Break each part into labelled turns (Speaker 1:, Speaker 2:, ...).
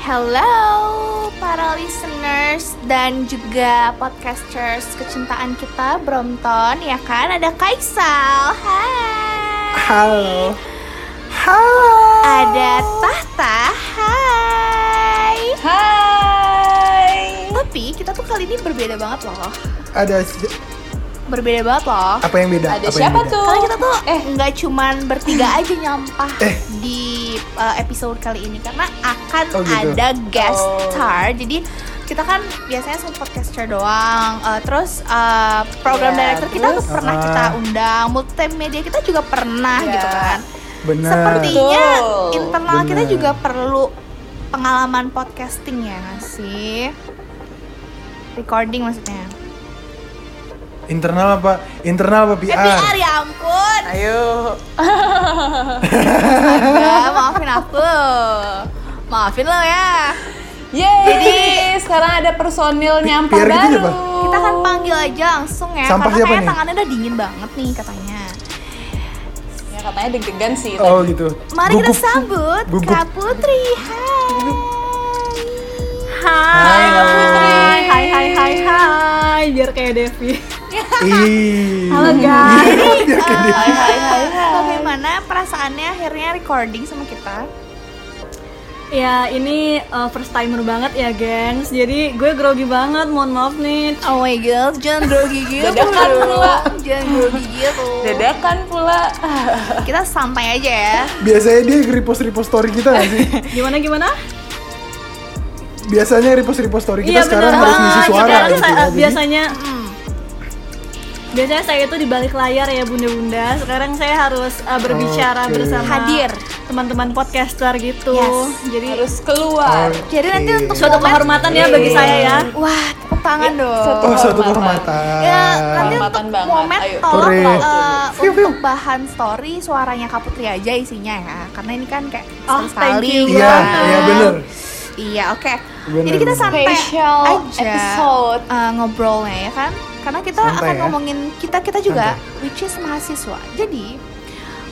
Speaker 1: Hello para listeners dan juga podcasters kecintaan kita Brompton ya kan ada Kaisal. Hai.
Speaker 2: Halo. Halo.
Speaker 1: Ada Tahta. Hai.
Speaker 3: Hai.
Speaker 1: Tapi kita tuh kali ini berbeda banget loh.
Speaker 2: Ada si-
Speaker 1: Berbeda banget loh.
Speaker 2: apa yang beda?
Speaker 3: Ada
Speaker 2: Apa yang
Speaker 3: siapa
Speaker 2: beda?
Speaker 3: tuh?
Speaker 1: Karena kita tuh
Speaker 3: eh
Speaker 1: nggak cuman bertiga aja nyampah
Speaker 2: Eh.
Speaker 1: di uh, episode kali ini karena akan
Speaker 2: Oh, gitu.
Speaker 1: ada guest
Speaker 3: Oh.
Speaker 1: star. Jadi kita kan biasanya sama podcaster doang. Uh, terus uh, program
Speaker 3: Ya,
Speaker 1: director kita tuh
Speaker 2: terus?
Speaker 1: pernah
Speaker 2: Ah.
Speaker 1: kita undang, multimedia kita juga pernah
Speaker 3: Ya.
Speaker 1: gitu kan.
Speaker 2: Bener.
Speaker 1: Sepertinya
Speaker 3: Betul.
Speaker 1: internal kita
Speaker 2: Bener.
Speaker 1: juga perlu pengalaman podcasting ya nggak sih? Recording maksudnya.
Speaker 2: internal apa? internal apa PR?
Speaker 1: PR ya ampun.
Speaker 3: ayo
Speaker 1: Enggak, maafin aku. Maafin lo ya.
Speaker 3: Yeay Jadi sekarang ada personil nyampah
Speaker 2: PR gitu
Speaker 3: baru
Speaker 2: siapa?
Speaker 1: Kita kan panggil aja langsung ya.
Speaker 2: Sampah
Speaker 1: karena
Speaker 2: siapa
Speaker 1: kayak
Speaker 2: nih?
Speaker 1: tangannya udah dingin banget nih katanya.
Speaker 3: Ya katanya deg-degan sih
Speaker 2: Oh gitu.
Speaker 1: Mari kita
Speaker 2: Gugup.
Speaker 1: sambut
Speaker 2: Gugup.
Speaker 1: Kak Putri. Hai.
Speaker 2: Hai, Kak Putri.
Speaker 1: Hai, hai, hai,
Speaker 4: Hai, biar kayak Devi.
Speaker 2: Ih.
Speaker 4: Halo guys.
Speaker 2: Dia kayak dia.
Speaker 3: Hai hai hai
Speaker 1: Bagaimana perasaannya akhirnya recording sama kita?
Speaker 4: ya ini uh, first timer banget ya, gengs. Jadi gue grogi banget, mohon maaf nih.
Speaker 1: Oh my god, jangan grogi gitu.
Speaker 3: Dadakan pula.
Speaker 1: Jangan grogi gitu.
Speaker 3: Dadakan pula
Speaker 1: Kita santai aja ya.
Speaker 2: Biasanya dia repost-repost story kita nggak sih?
Speaker 4: Gimana gimana?
Speaker 2: Biasanya repost-repost story
Speaker 1: Iya,
Speaker 2: kita sekarang
Speaker 4: bener
Speaker 2: harus ngisi
Speaker 1: Ah,
Speaker 4: banget.
Speaker 2: suara
Speaker 4: Iya, Ah, Sekarang
Speaker 2: gitu.
Speaker 4: saya-
Speaker 2: ya. Jadi,
Speaker 4: biasanya
Speaker 1: Hmm.
Speaker 4: biasanya saya itu di balik layar ya, bunda-bunda. Sekarang saya harus uh, berbicara
Speaker 2: Oke.
Speaker 4: bersama
Speaker 1: Hadir.
Speaker 4: teman-teman podcaster gitu.
Speaker 1: Yes.
Speaker 4: Jadi
Speaker 3: Harus keluar
Speaker 2: Oke.
Speaker 1: Jadi nanti untuk
Speaker 4: suatu kehormatan ya bagi saya ya.
Speaker 1: Wah, tepuk tangan dong.
Speaker 3: satu
Speaker 2: Oh, satu
Speaker 3: Kehormatan.
Speaker 2: kehormatan.
Speaker 1: Ya, nanti untuk
Speaker 3: Kehormatan banget.
Speaker 1: momen
Speaker 3: Ayo.
Speaker 1: tolong
Speaker 2: Sore.
Speaker 1: eh,
Speaker 2: Fiu, fiu.
Speaker 1: untuk bahan story suaranya Kak Putri aja isinya ya. Karena ini kan kayak
Speaker 4: Oh, thank
Speaker 1: sekali. gitu kan.
Speaker 4: you
Speaker 2: Iya, iya bener.
Speaker 1: Iya, oke.
Speaker 2: Bener,
Speaker 1: Jadi kita
Speaker 2: bener.
Speaker 1: santai
Speaker 3: Special
Speaker 1: aja
Speaker 3: episode.
Speaker 1: eh, ngobrolnya ya kan. Karena kita
Speaker 2: Santai
Speaker 1: akan
Speaker 2: ya.
Speaker 1: ngomongin kita-kita juga which is mahasiswa. Jadi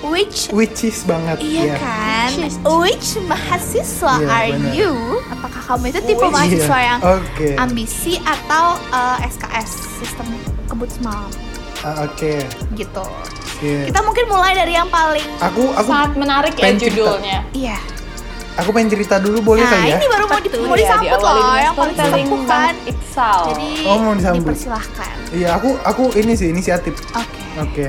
Speaker 1: which
Speaker 2: Which is banget.
Speaker 1: Iya
Speaker 2: ya.
Speaker 1: kan?
Speaker 3: Which is-
Speaker 1: Which mahasiswa
Speaker 2: Iya,
Speaker 1: are
Speaker 2: bener.
Speaker 1: you? Apakah kamu itu tipe
Speaker 3: Which-
Speaker 1: mahasiswa
Speaker 2: Iya.
Speaker 1: yang
Speaker 2: Oke.
Speaker 1: ambisi atau eh, SKS sistem kebut semalam
Speaker 2: Ah, Oke.
Speaker 1: gitu.
Speaker 2: Oke.
Speaker 1: Kita mungkin mulai dari yang paling
Speaker 2: Aku aku
Speaker 3: Sangat menarik ya
Speaker 2: Pengen cerita.
Speaker 3: judulnya
Speaker 1: iya.
Speaker 2: aku pengen cerita dulu boleh
Speaker 1: nah,
Speaker 2: kali ya?
Speaker 1: ini baru mau, di, mau
Speaker 3: Iya,
Speaker 1: disambut
Speaker 3: diawali
Speaker 1: loh
Speaker 3: dengan
Speaker 1: yang paling
Speaker 3: storytelling
Speaker 1: sepuh kan.
Speaker 3: Bang Iksal
Speaker 1: Jadi
Speaker 2: Oh, mau disambut.
Speaker 1: dipersilahkan.
Speaker 2: Iya, aku aku ini sih inisiatif.
Speaker 1: Oke.
Speaker 2: Oke.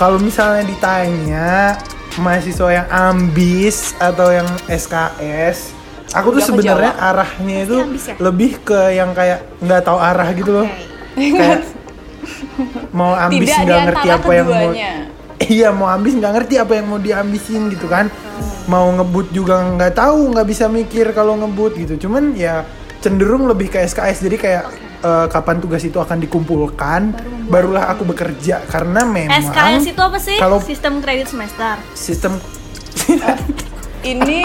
Speaker 2: Kalau misalnya ditanya mahasiswa yang ambis atau yang SKS, aku tuh
Speaker 3: Udah
Speaker 2: sebenarnya
Speaker 3: kejawab.
Speaker 2: arahnya itu
Speaker 1: Pasti ambis ya?
Speaker 2: lebih ke yang kayak nggak tahu arah gitu loh.
Speaker 1: Oke.
Speaker 2: Kayak mau ambis
Speaker 3: Tidak di
Speaker 2: nggak ngerti
Speaker 3: antara
Speaker 2: apa yang mau
Speaker 3: keduanya
Speaker 2: Iya, mau ambis nggak ngerti apa yang mau diambisin gitu kan.
Speaker 3: Hmm.
Speaker 2: Mau ngebut juga nggak tahu, nggak bisa mikir kalau ngebut gitu. Cuman ya cenderung lebih ke SKS jadi kayak eh, kapan tugas itu akan dikumpulkan, barulah aku bekerja karena memang
Speaker 4: SKS itu apa sih?
Speaker 2: Ya, Kalau
Speaker 4: Sistem kredit semester.
Speaker 2: sistem
Speaker 3: Ini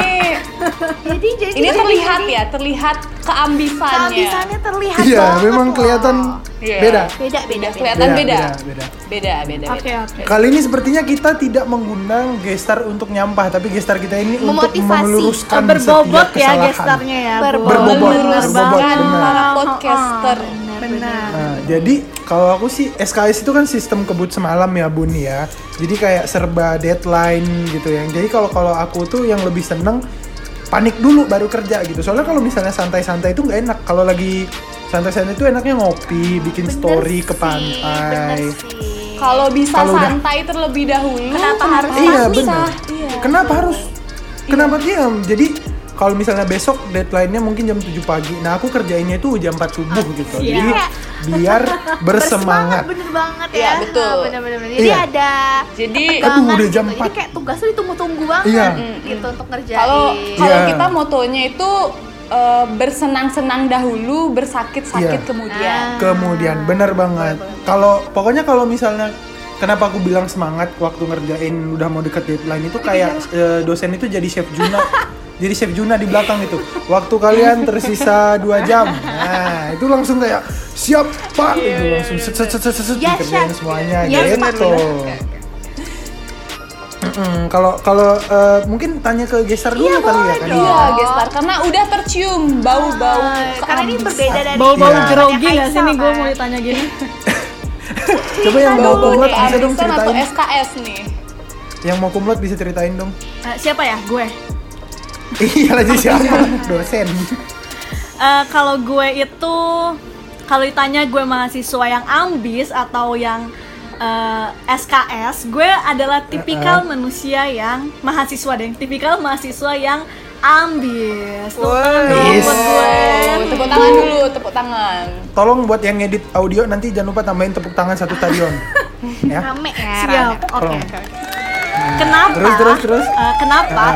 Speaker 1: Jadi jadi
Speaker 3: ini
Speaker 1: jadi-
Speaker 3: terlihat
Speaker 1: jadi
Speaker 3: ya, terlihat keambisannya.
Speaker 1: Kehabisannya terlihat
Speaker 2: iya
Speaker 1: banget
Speaker 2: memang
Speaker 1: loh.
Speaker 2: kelihatan
Speaker 3: Ya, Iya.
Speaker 2: beda. Iya,
Speaker 1: beda beda.
Speaker 3: Beda
Speaker 1: beda.
Speaker 3: kelihatan beda.
Speaker 2: beda, beda.
Speaker 3: Beda, beda,
Speaker 4: Oke,
Speaker 3: beda.
Speaker 4: oke.
Speaker 2: Kali ini sepertinya kita tidak mengundang gestar untuk nyampah, tapi gestar kita ini
Speaker 1: Memotivasi.
Speaker 2: untuk meluruskan Kan setiap
Speaker 4: Berbobot ya
Speaker 2: kesalahan.
Speaker 4: gestarnya ya.
Speaker 1: Berbobot.
Speaker 2: Berbobot,
Speaker 4: Bener
Speaker 2: berbobot,
Speaker 4: banget.
Speaker 2: bener.
Speaker 3: para podcaster.
Speaker 1: Oh, Benar.
Speaker 2: Nah, jadi kalau aku sih SKS itu kan sistem kebut semalam ya Bun ya. Jadi kayak serba deadline gitu ya. Jadi kalau kalau aku tuh yang lebih seneng panik dulu baru kerja gitu. Soalnya kalau misalnya santai-santai itu nggak enak. Kalau lagi santai-santai itu enaknya ngopi, bikin
Speaker 1: Bener
Speaker 2: story ke
Speaker 1: sih,
Speaker 2: pantai.
Speaker 1: bener sih.
Speaker 3: Kalau bisa
Speaker 2: Kalau udah-
Speaker 3: santai terlebih dahulu,
Speaker 1: Kenapa harus
Speaker 2: Iya
Speaker 3: bisa?
Speaker 2: benar.
Speaker 3: Iya.
Speaker 2: Kenapa harus? Kenapa diam? Jadi kalau misalnya besok deadline-nya mungkin jam 7 pagi. Nah, aku kerjainnya itu jam 4 subuh gitu.
Speaker 4: iya.
Speaker 2: Jadi biar bersemangat.
Speaker 1: bener banget ya.
Speaker 3: Iya, betul.
Speaker 1: Bener bener. bener. Jadi
Speaker 2: Iya.
Speaker 1: ada
Speaker 3: Jadi
Speaker 2: Aduh,
Speaker 1: banget
Speaker 2: udah jam
Speaker 1: gitu. Jadi
Speaker 2: 4.
Speaker 1: kayak tugas tuh ditunggu-tunggu banget
Speaker 2: Iya.
Speaker 1: gitu untuk ngerjain.
Speaker 3: kalau kalau
Speaker 2: Iya.
Speaker 3: kita motonya itu eh, bersenang-senang dahulu, bersakit-sakit
Speaker 2: Iya.
Speaker 3: kemudian.
Speaker 1: Ah.
Speaker 2: Kemudian bener banget. Kalau pokoknya kalau misalnya kenapa aku bilang semangat waktu ngerjain udah mau deket deadline itu kayak eh, dosen itu jadi chef Juna. jadi chef Juna di belakang itu. Waktu kalian tersisa dua jam. Nah, itu langsung kayak siap Pak. Itu langsung set set set set set
Speaker 1: Ya,
Speaker 2: dikerjain
Speaker 1: Chef.
Speaker 2: semuanya
Speaker 1: Ya,
Speaker 2: gitu.
Speaker 1: Pak.
Speaker 2: Mm-mm, Kalau kalau eh, mungkin tanya ke geser dulu kali ya kan.
Speaker 3: Iya, gestar karena udah tercium bau-bau.
Speaker 1: Oh. Ah, Karena ini berbeda dari
Speaker 4: Bau-bau
Speaker 2: Iya.
Speaker 4: grogi gak sih
Speaker 1: Kaisal,
Speaker 4: nih gue mau
Speaker 1: kan?
Speaker 4: ditanya gini
Speaker 2: Coba yang mau
Speaker 3: Bau-bau
Speaker 2: kumlot bisa dong
Speaker 3: kearisan atau
Speaker 2: ceritain.
Speaker 3: SKS nih.
Speaker 2: Yang mau kumlot bisa ceritain dong.
Speaker 4: Eh, Siapa ya? Gue?
Speaker 2: Iya lah jadi siapa? Dosen.
Speaker 4: Eh, kalau gue itu kalau ditanya gue mahasiswa yang ambis atau yang eh, SKS, gue
Speaker 2: Eh,
Speaker 4: adalah tipikal manusia yang mahasiswa deh, tipikal mahasiswa yang ambis. Tuh, tangan dong
Speaker 2: Yes.
Speaker 4: buat gue.
Speaker 3: Wow, tepuk tangan dulu, tepuk tangan.
Speaker 2: Tolong buat yang ngedit audio nanti jangan lupa tambahin tepuk tangan satu stadion. ya.
Speaker 1: Rame ya,
Speaker 4: Siap.
Speaker 1: rame.
Speaker 4: Oke.
Speaker 2: Tolong.
Speaker 4: Kenapa?
Speaker 2: Terus, terus, terus.
Speaker 4: eh, kenapa?
Speaker 2: Ah.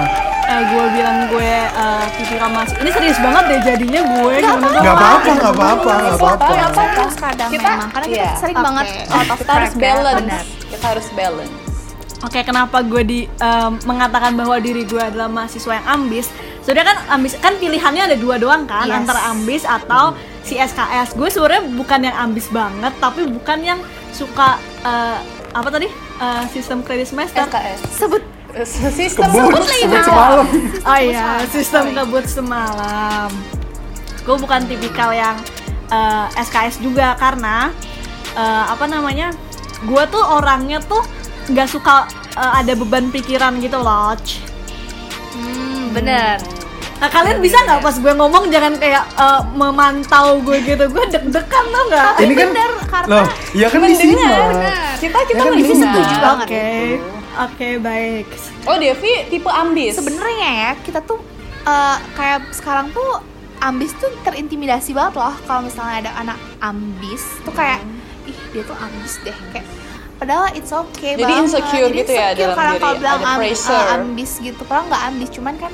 Speaker 4: eh, gue bilang gue eh, tipikal mahasiswa. Ini serius banget deh jadinya gue. gimana
Speaker 1: apa-apa.
Speaker 2: Gak
Speaker 4: banget.
Speaker 2: apa-apa, gak apa-apa, gak apa-apa.
Speaker 1: Gak apa-apa kadang
Speaker 3: Iya, Kita-
Speaker 1: memang Karena kita
Speaker 3: iya.
Speaker 1: sering
Speaker 4: Oke.
Speaker 1: banget out of
Speaker 3: Kita
Speaker 1: track
Speaker 3: harus
Speaker 1: ya, benar.
Speaker 3: balance. Kita harus balance.
Speaker 4: Oke, kenapa gue di em, mengatakan bahwa diri gue adalah mahasiswa yang ambis? Sebenarnya kan ambis kan pilihannya ada dua doang kan,
Speaker 1: Yes.
Speaker 4: antara ambis atau si SKS. Gue sebenarnya bukan yang ambis banget, tapi bukan yang suka eh, apa tadi Eh, sistem kredit semester.
Speaker 3: SKS.
Speaker 1: Sebut
Speaker 3: Sistem
Speaker 2: Kebun,
Speaker 3: sebut lagi
Speaker 2: sebut
Speaker 3: nama.
Speaker 2: semalam.
Speaker 4: Oh iya, sistem kebut semalam. Gue bukan tipikal yang eh, SKS juga karena eh, apa namanya? Gue tuh orangnya tuh nggak suka eh, ada beban pikiran gitu loh. Ch.
Speaker 1: hmm, Bener
Speaker 4: Nah, kalian bisa nggak pas gue ngomong jangan kayak eh, memantau gue gitu gue deg-degan tau nggak?
Speaker 2: Ini kan
Speaker 1: bener, karena
Speaker 2: loh, iya kan di sini.
Speaker 3: Mendengar,
Speaker 2: loh.
Speaker 3: benar. Kita kita
Speaker 2: Ya kan,
Speaker 3: mendengar.
Speaker 2: ini setuju
Speaker 4: Oke,
Speaker 1: banget
Speaker 4: oke baik.
Speaker 3: Oh, Devi tipe ambis.
Speaker 1: sebenarnya ya kita tuh eh, kayak sekarang tuh ambis tuh terintimidasi banget loh kalau misalnya ada anak ambis tuh
Speaker 3: Hmm.
Speaker 1: kayak ih dia tuh ambis deh kayak padahal it's okay
Speaker 3: Jadi
Speaker 1: banget.
Speaker 3: insecure gitu ya dalam
Speaker 1: karena
Speaker 3: diri,
Speaker 1: kalau bilang
Speaker 3: ada
Speaker 1: am-
Speaker 3: pressure.
Speaker 1: eh, ambis gitu padahal nggak ambis cuman kan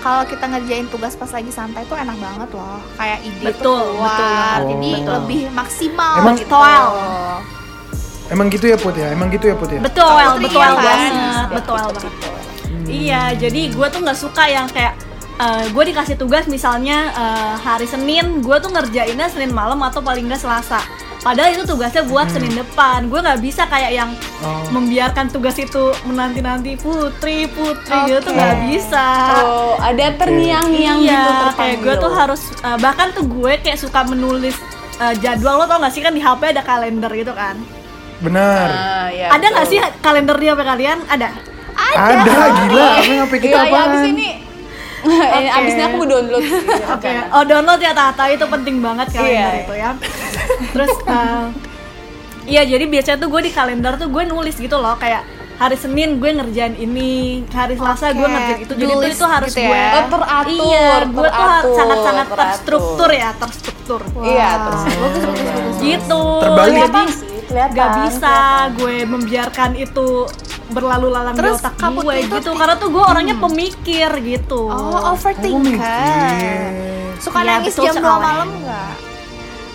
Speaker 1: kalau kita ngerjain tugas pas lagi santai tuh enak banget loh kayak ide
Speaker 4: Betul,
Speaker 1: tuh keluar
Speaker 2: betul.
Speaker 1: jadi
Speaker 2: Betul.
Speaker 1: lebih maksimal
Speaker 2: Oh. Emang-
Speaker 3: Oh,
Speaker 1: gitu
Speaker 4: Toel.
Speaker 2: Emang gitu ya Put ya, emang gitu ya Put ya.
Speaker 4: Betul,
Speaker 1: Kamu tuh
Speaker 4: betul
Speaker 1: iya kan?
Speaker 4: banget, betul banget. Iya, jadi gue tuh nggak suka yang kayak eh, gue dikasih tugas misalnya eh, hari Senin, gue tuh ngerjainnya Senin malam atau paling nggak Selasa. Padahal itu tugasnya buat Senin depan. Gue nggak bisa kayak yang
Speaker 2: Oh.
Speaker 4: membiarkan tugas itu menanti-nanti Putri, Putri gitu tuh nggak
Speaker 1: Oke.
Speaker 4: bisa.
Speaker 3: Oh, ada terngiang-ngiang
Speaker 4: iya,
Speaker 3: gitu
Speaker 4: kayak
Speaker 3: terpanggil.
Speaker 4: gue tuh harus uh, bahkan tuh gue kayak suka menulis uh, jadwal lo tau gak sih kan di HP ada kalender gitu kan
Speaker 2: Benar.
Speaker 3: Ah, ya,
Speaker 4: ada nggak
Speaker 3: betul.
Speaker 4: sih kalender di HP kalian ada
Speaker 2: Ada, gila, apa yang kita
Speaker 3: Iya, ya,
Speaker 2: gitu apaan?
Speaker 3: abis ini Eh, abisnya aku mau download.
Speaker 4: oke oh download ya Tata itu penting banget kalender
Speaker 3: Iya,
Speaker 4: itu ya terus uh, iya jadi biasanya tuh gue di kalender tuh gue nulis gitu loh kayak hari Senin gue ngerjain ini hari Selasa gue
Speaker 1: Oke,
Speaker 4: ngerjain itu
Speaker 1: to-do
Speaker 4: jadi tuh
Speaker 1: list
Speaker 4: itu harus
Speaker 1: gitu ya.
Speaker 4: gue
Speaker 3: Oh, teratur,
Speaker 4: Eh, iya gue tuh har-
Speaker 3: teratur,
Speaker 4: sangat-sangat
Speaker 3: teratur.
Speaker 4: terstruktur ya terstruktur
Speaker 3: Iya, terus
Speaker 1: bagus bagus bagus
Speaker 4: gitu
Speaker 2: Terbalik.
Speaker 4: Jadi,
Speaker 3: Kelihatan sih, Iya, kelihatan,
Speaker 4: gak bisa gue membiarkan itu berlalu lalang
Speaker 1: Terus,
Speaker 4: di otak
Speaker 1: Kak Putri
Speaker 4: gue
Speaker 1: itu
Speaker 4: gitu
Speaker 1: ti-
Speaker 4: karena tuh gue orangnya
Speaker 3: Hmm.
Speaker 4: pemikir gitu
Speaker 1: oh
Speaker 2: Oh,
Speaker 1: overthinker
Speaker 2: mikir.
Speaker 1: suka
Speaker 4: Iya,
Speaker 1: nangis
Speaker 4: betul
Speaker 1: jam 2
Speaker 4: soalnya.
Speaker 1: malam nggak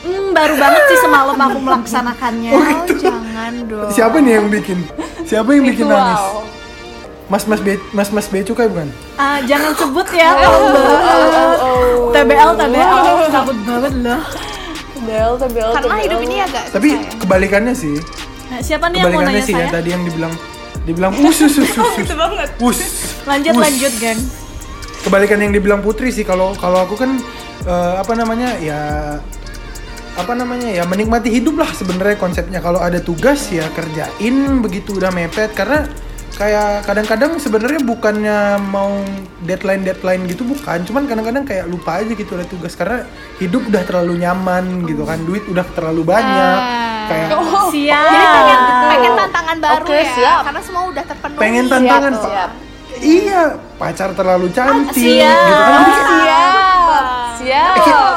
Speaker 4: Hmm, baru banget sih semalam aku melaksanakannya
Speaker 1: Oh, jangan dong.
Speaker 2: gitu. Siapa nih yang bikin? Siapa yang bikin
Speaker 3: Ritual.
Speaker 2: nangis? Mas Mas Be Mas Mas Becukai bukan?
Speaker 4: Ah, jangan sebut ya
Speaker 3: oh,
Speaker 4: Allah. TBL TBL takut banget loh
Speaker 3: Tebel, tebel,
Speaker 1: Karena
Speaker 3: tebel.
Speaker 1: hidup ini agak
Speaker 2: Tapi
Speaker 1: susah ya.
Speaker 2: kebalikannya sih,
Speaker 4: Nah, siapa nih yang mau
Speaker 2: kebalikannya
Speaker 4: nanya
Speaker 2: sih ya
Speaker 4: saya Oh, gitu
Speaker 2: tadi yang dibilang dibilang us us us us, us.
Speaker 3: banget.
Speaker 2: Us.
Speaker 4: lanjut
Speaker 2: Us.
Speaker 4: lanjut geng
Speaker 2: Kebalikan yang dibilang Putri sih kalau kalau aku kan eh, apa namanya ya apa namanya ya menikmati hidup lah sebenarnya konsepnya kalau ada tugas ya kerjain begitu udah mepet karena kayak kadang-kadang sebenarnya bukannya mau deadline deadline gitu bukan cuman kadang-kadang kayak lupa aja gitu ada tugas karena hidup udah terlalu nyaman gitu kan duit udah terlalu banyak
Speaker 4: Ah.
Speaker 2: kayak
Speaker 3: Oh,
Speaker 4: siap
Speaker 1: Jadi pengen,
Speaker 3: Betul.
Speaker 1: pengen tantangan baru
Speaker 3: Ah. Oke,
Speaker 1: ya.
Speaker 3: siap.
Speaker 1: Karena semua udah terpenuhi.
Speaker 2: pengen
Speaker 3: tantangan.
Speaker 2: tantangan pak
Speaker 3: siap.
Speaker 2: iya pacar terlalu cantik
Speaker 4: siap.
Speaker 2: gitu kan Kayak-
Speaker 1: Iya.
Speaker 3: siap, Ah, siap.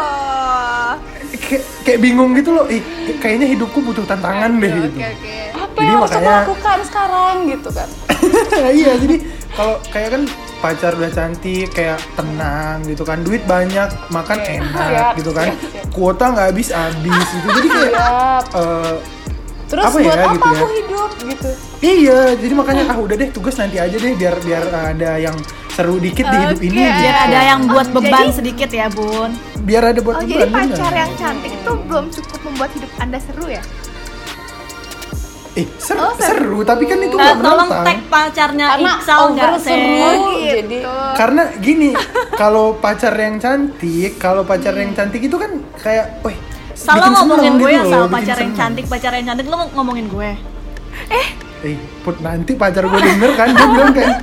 Speaker 2: kayak, kayak bingung gitu loh ih kayaknya hidupku butuh tantangan deh gitu
Speaker 1: Oke, oke.
Speaker 3: Apa
Speaker 2: Jadi
Speaker 3: yang harus aku
Speaker 2: makanya-
Speaker 3: lakukan sekarang gitu kan?
Speaker 2: iya jadi kalau kayak kan pacar udah cantik kayak tenang gitu kan duit banyak makan
Speaker 3: Oke,
Speaker 2: enak
Speaker 3: siap,
Speaker 2: gitu kan
Speaker 3: siap, siap.
Speaker 2: kuota nggak habis habis gitu jadi kayak
Speaker 3: Siap.
Speaker 2: eh,
Speaker 3: Terus
Speaker 2: Apa ya,
Speaker 3: buat apa
Speaker 2: gitu ya?
Speaker 3: aku hidup gitu?
Speaker 2: iya jadi makanya ah udah deh tugas nanti aja deh biar biar ada yang seru dikit di hidup ini
Speaker 1: Oke.
Speaker 2: gitu.
Speaker 4: biar ada yang buat
Speaker 1: Oh,
Speaker 4: beban
Speaker 1: jadi-
Speaker 4: sedikit ya bun
Speaker 2: biar ada
Speaker 1: Oh,
Speaker 2: buat
Speaker 1: jadi
Speaker 2: beban,
Speaker 1: pacar
Speaker 2: bener.
Speaker 1: yang cantik itu belum cukup membuat hidup Anda seru ya?
Speaker 2: Eh, seru,
Speaker 1: Oh,
Speaker 2: seru. tapi kan itu
Speaker 4: Eh,
Speaker 2: nggak
Speaker 4: tolong
Speaker 2: menentang.
Speaker 4: tag pacarnya
Speaker 3: Karena
Speaker 4: Iksal nggak
Speaker 3: over
Speaker 4: sih? Oh,
Speaker 3: seru
Speaker 1: gitu.
Speaker 3: jadi
Speaker 2: Karena gini, kalau pacar yang cantik, kalau pacar yang cantik itu kan kayak, wih, bikin
Speaker 4: Salah ngomongin
Speaker 2: seneng
Speaker 4: gue
Speaker 2: gitu
Speaker 4: ya,
Speaker 2: loh,
Speaker 4: salah
Speaker 2: bikin
Speaker 4: pacar yang
Speaker 2: seneng.
Speaker 4: cantik, pacar yang cantik lo ngomongin gue.
Speaker 2: Eh, put nanti pacar gue denger kan, dia bilang kayak,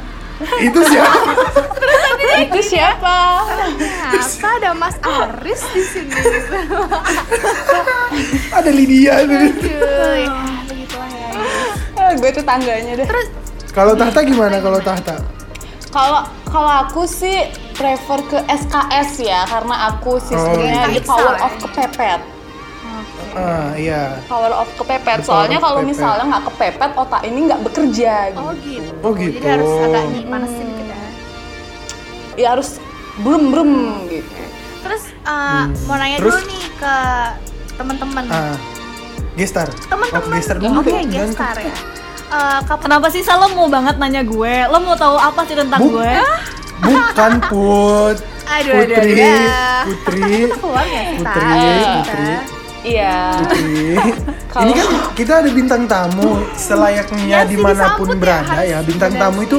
Speaker 2: itu siapa?
Speaker 3: itu siapa
Speaker 1: Kenapa ada Mas Aris di sini?
Speaker 2: Ada Lydia.
Speaker 1: Cuy, ah, begitulah ya.
Speaker 3: Ah, gue tetangganya deh
Speaker 1: Terus
Speaker 2: Kalau tahta gimana kalau tahta?
Speaker 3: kalau kalau aku sih prefer ke SKS ya karena aku sih
Speaker 2: Oh,
Speaker 3: sebenarnya
Speaker 1: gitu.
Speaker 3: the power
Speaker 1: Iksal,
Speaker 3: of
Speaker 1: ya?
Speaker 3: kepepet
Speaker 2: Ah, iya.
Speaker 3: power of kepepet
Speaker 2: The power
Speaker 3: soalnya
Speaker 2: of
Speaker 3: kalau
Speaker 2: kepepet.
Speaker 3: misalnya nggak kepepet otak ini nggak bekerja gitu
Speaker 1: oh gitu.
Speaker 2: Oh, gitu.
Speaker 1: Jadi harus agak dipanasin dikit ya.
Speaker 3: ya harus brem brem gitu
Speaker 1: Terus eh, mau nanya
Speaker 2: Hmm. Terus?
Speaker 1: dulu nih ke teman-teman.
Speaker 2: Ah, gestar.
Speaker 1: teman-teman.
Speaker 2: Oh, gestar dulu
Speaker 1: Oke,
Speaker 2: deh, jangan ke-
Speaker 1: gestar ya. Eh, kapan
Speaker 4: Kenapa sih Sal lo mau banget nanya gue? Lo mau tahu apa sih tentang
Speaker 2: Bu-
Speaker 4: gue?
Speaker 2: Bukan put.
Speaker 1: Aduh, aduh,
Speaker 2: Putri,
Speaker 1: aduh, aduh.
Speaker 2: Putri,
Speaker 1: keluar ya kita?
Speaker 2: Putri, Putri.
Speaker 3: iya
Speaker 2: Putri. Ini
Speaker 3: Kalau-
Speaker 2: kan kita ada bintang tamu
Speaker 1: Ya
Speaker 2: selayaknya
Speaker 1: sih,
Speaker 2: dimanapun
Speaker 1: disambut ya,
Speaker 2: berada
Speaker 1: harus
Speaker 2: ya. Bintang
Speaker 1: benar
Speaker 2: tamu
Speaker 1: sih.
Speaker 2: itu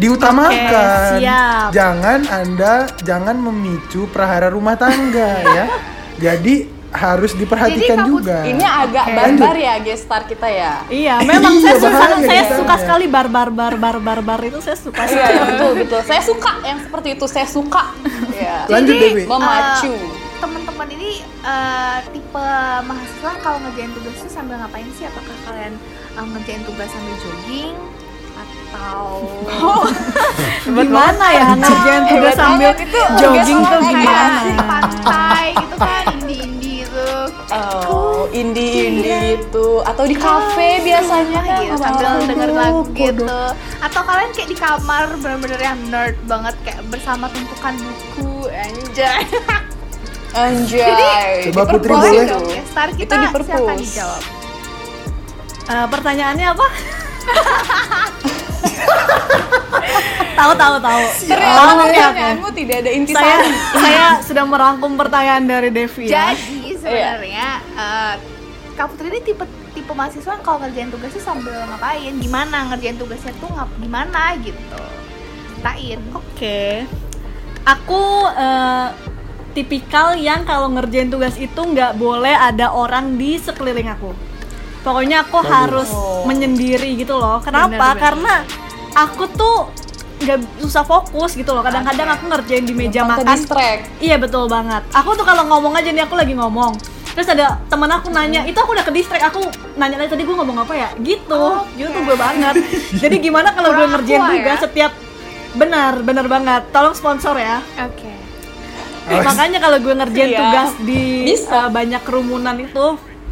Speaker 2: diutamakan.
Speaker 4: Oke, siap.
Speaker 2: Jangan Anda jangan memicu prahara rumah tangga ya. Jadi harus diperhatikan
Speaker 1: kamu-
Speaker 2: juga. Oh,
Speaker 3: ini agak
Speaker 2: Oke.
Speaker 3: barbar ya gestar kita ya
Speaker 4: Iya,
Speaker 2: Iya,
Speaker 4: memang saya suka,
Speaker 2: bahaya
Speaker 4: saya
Speaker 2: kita.
Speaker 4: suka sekali bar bar bar bar bar bar itu saya suka
Speaker 3: Iya,
Speaker 4: sekali.
Speaker 3: iya, betul betul. Saya suka yang seperti itu. Saya suka. Iya.
Speaker 2: Lanjut
Speaker 1: Jadi,
Speaker 2: Dewi.
Speaker 3: Memacu.
Speaker 1: eh, teman-teman ini eh, tipe mahasiswa kalau ngerjain tugas itu sambil ngapain sih? Apakah kalian eh, ngerjain tugas sambil jogging atau
Speaker 4: Gimana ya ngerjain tugas
Speaker 3: Hebat
Speaker 4: sambil
Speaker 3: banget itu,
Speaker 4: jogging
Speaker 3: tugas
Speaker 4: tuh
Speaker 1: kayak
Speaker 3: online
Speaker 4: gimana?
Speaker 1: di pantai gitu kan, indie-indie gitu.
Speaker 3: Oh, indie indie itu atau di kafe biasanya kan
Speaker 1: gitu,
Speaker 3: sama
Speaker 1: sambil
Speaker 3: orang.
Speaker 1: denger
Speaker 2: bodoh,
Speaker 1: lagu
Speaker 2: bodoh.
Speaker 1: gitu atau kalian kayak di kamar bener-bener yang nerd banget kayak bersama tumpukan buku anjay
Speaker 3: Anjay.
Speaker 2: Coba
Speaker 3: di
Speaker 2: Putri
Speaker 3: perpus
Speaker 2: boleh.
Speaker 3: itu.
Speaker 1: dong ya star
Speaker 3: Itu
Speaker 1: kita
Speaker 3: di
Speaker 1: silakan
Speaker 3: perpus.
Speaker 1: dijawab
Speaker 4: Eh, pertanyaannya apa? tahu tahu tahu.
Speaker 2: Ah, iya,
Speaker 3: Ternyata
Speaker 4: Tahu ya, aku.
Speaker 3: pertanyaanmu tidak ada inti
Speaker 4: Saya saya sudah merangkum pertanyaan dari Devi ya.
Speaker 1: Jadi sebenarnya eh, Kak Putri ini tipe tipe mahasiswa yang kalau ngerjain tugasnya sambil ngapain? Gimana ngerjain tugasnya tuh ngap gimana gitu? Tain. Oh,
Speaker 4: Oke. Aku eh, tipikal yang kalau ngerjain tugas itu nggak boleh ada orang di sekeliling aku. Pokoknya aku harus menyendiri gitu loh.
Speaker 1: Oh.
Speaker 4: Kenapa?
Speaker 1: Benar, benar.
Speaker 4: Karena aku tuh nggak susah fokus gitu loh. Kadang-kadang aku ngerjain di meja makan.
Speaker 3: distract.
Speaker 4: Iya betul banget. Aku tuh kalau ngomong aja nih aku lagi ngomong. Terus ada teman aku nanya,
Speaker 1: Hmm.
Speaker 4: itu aku udah ke distract, aku nanya lagi tadi gue ngomong apa ya? Gitu,
Speaker 1: Oh,
Speaker 4: gitu tuh gue banget. Jadi gimana kalau gue
Speaker 1: Kurang
Speaker 4: ngerjain
Speaker 1: aqua
Speaker 4: juga
Speaker 1: ya?
Speaker 4: setiap benar, benar banget. Tolong sponsor ya.
Speaker 1: Oke.
Speaker 4: Makanya kalau gue ngerjain
Speaker 3: Iya.
Speaker 4: tugas di
Speaker 3: Bisa.
Speaker 4: uh, banyak kerumunan itu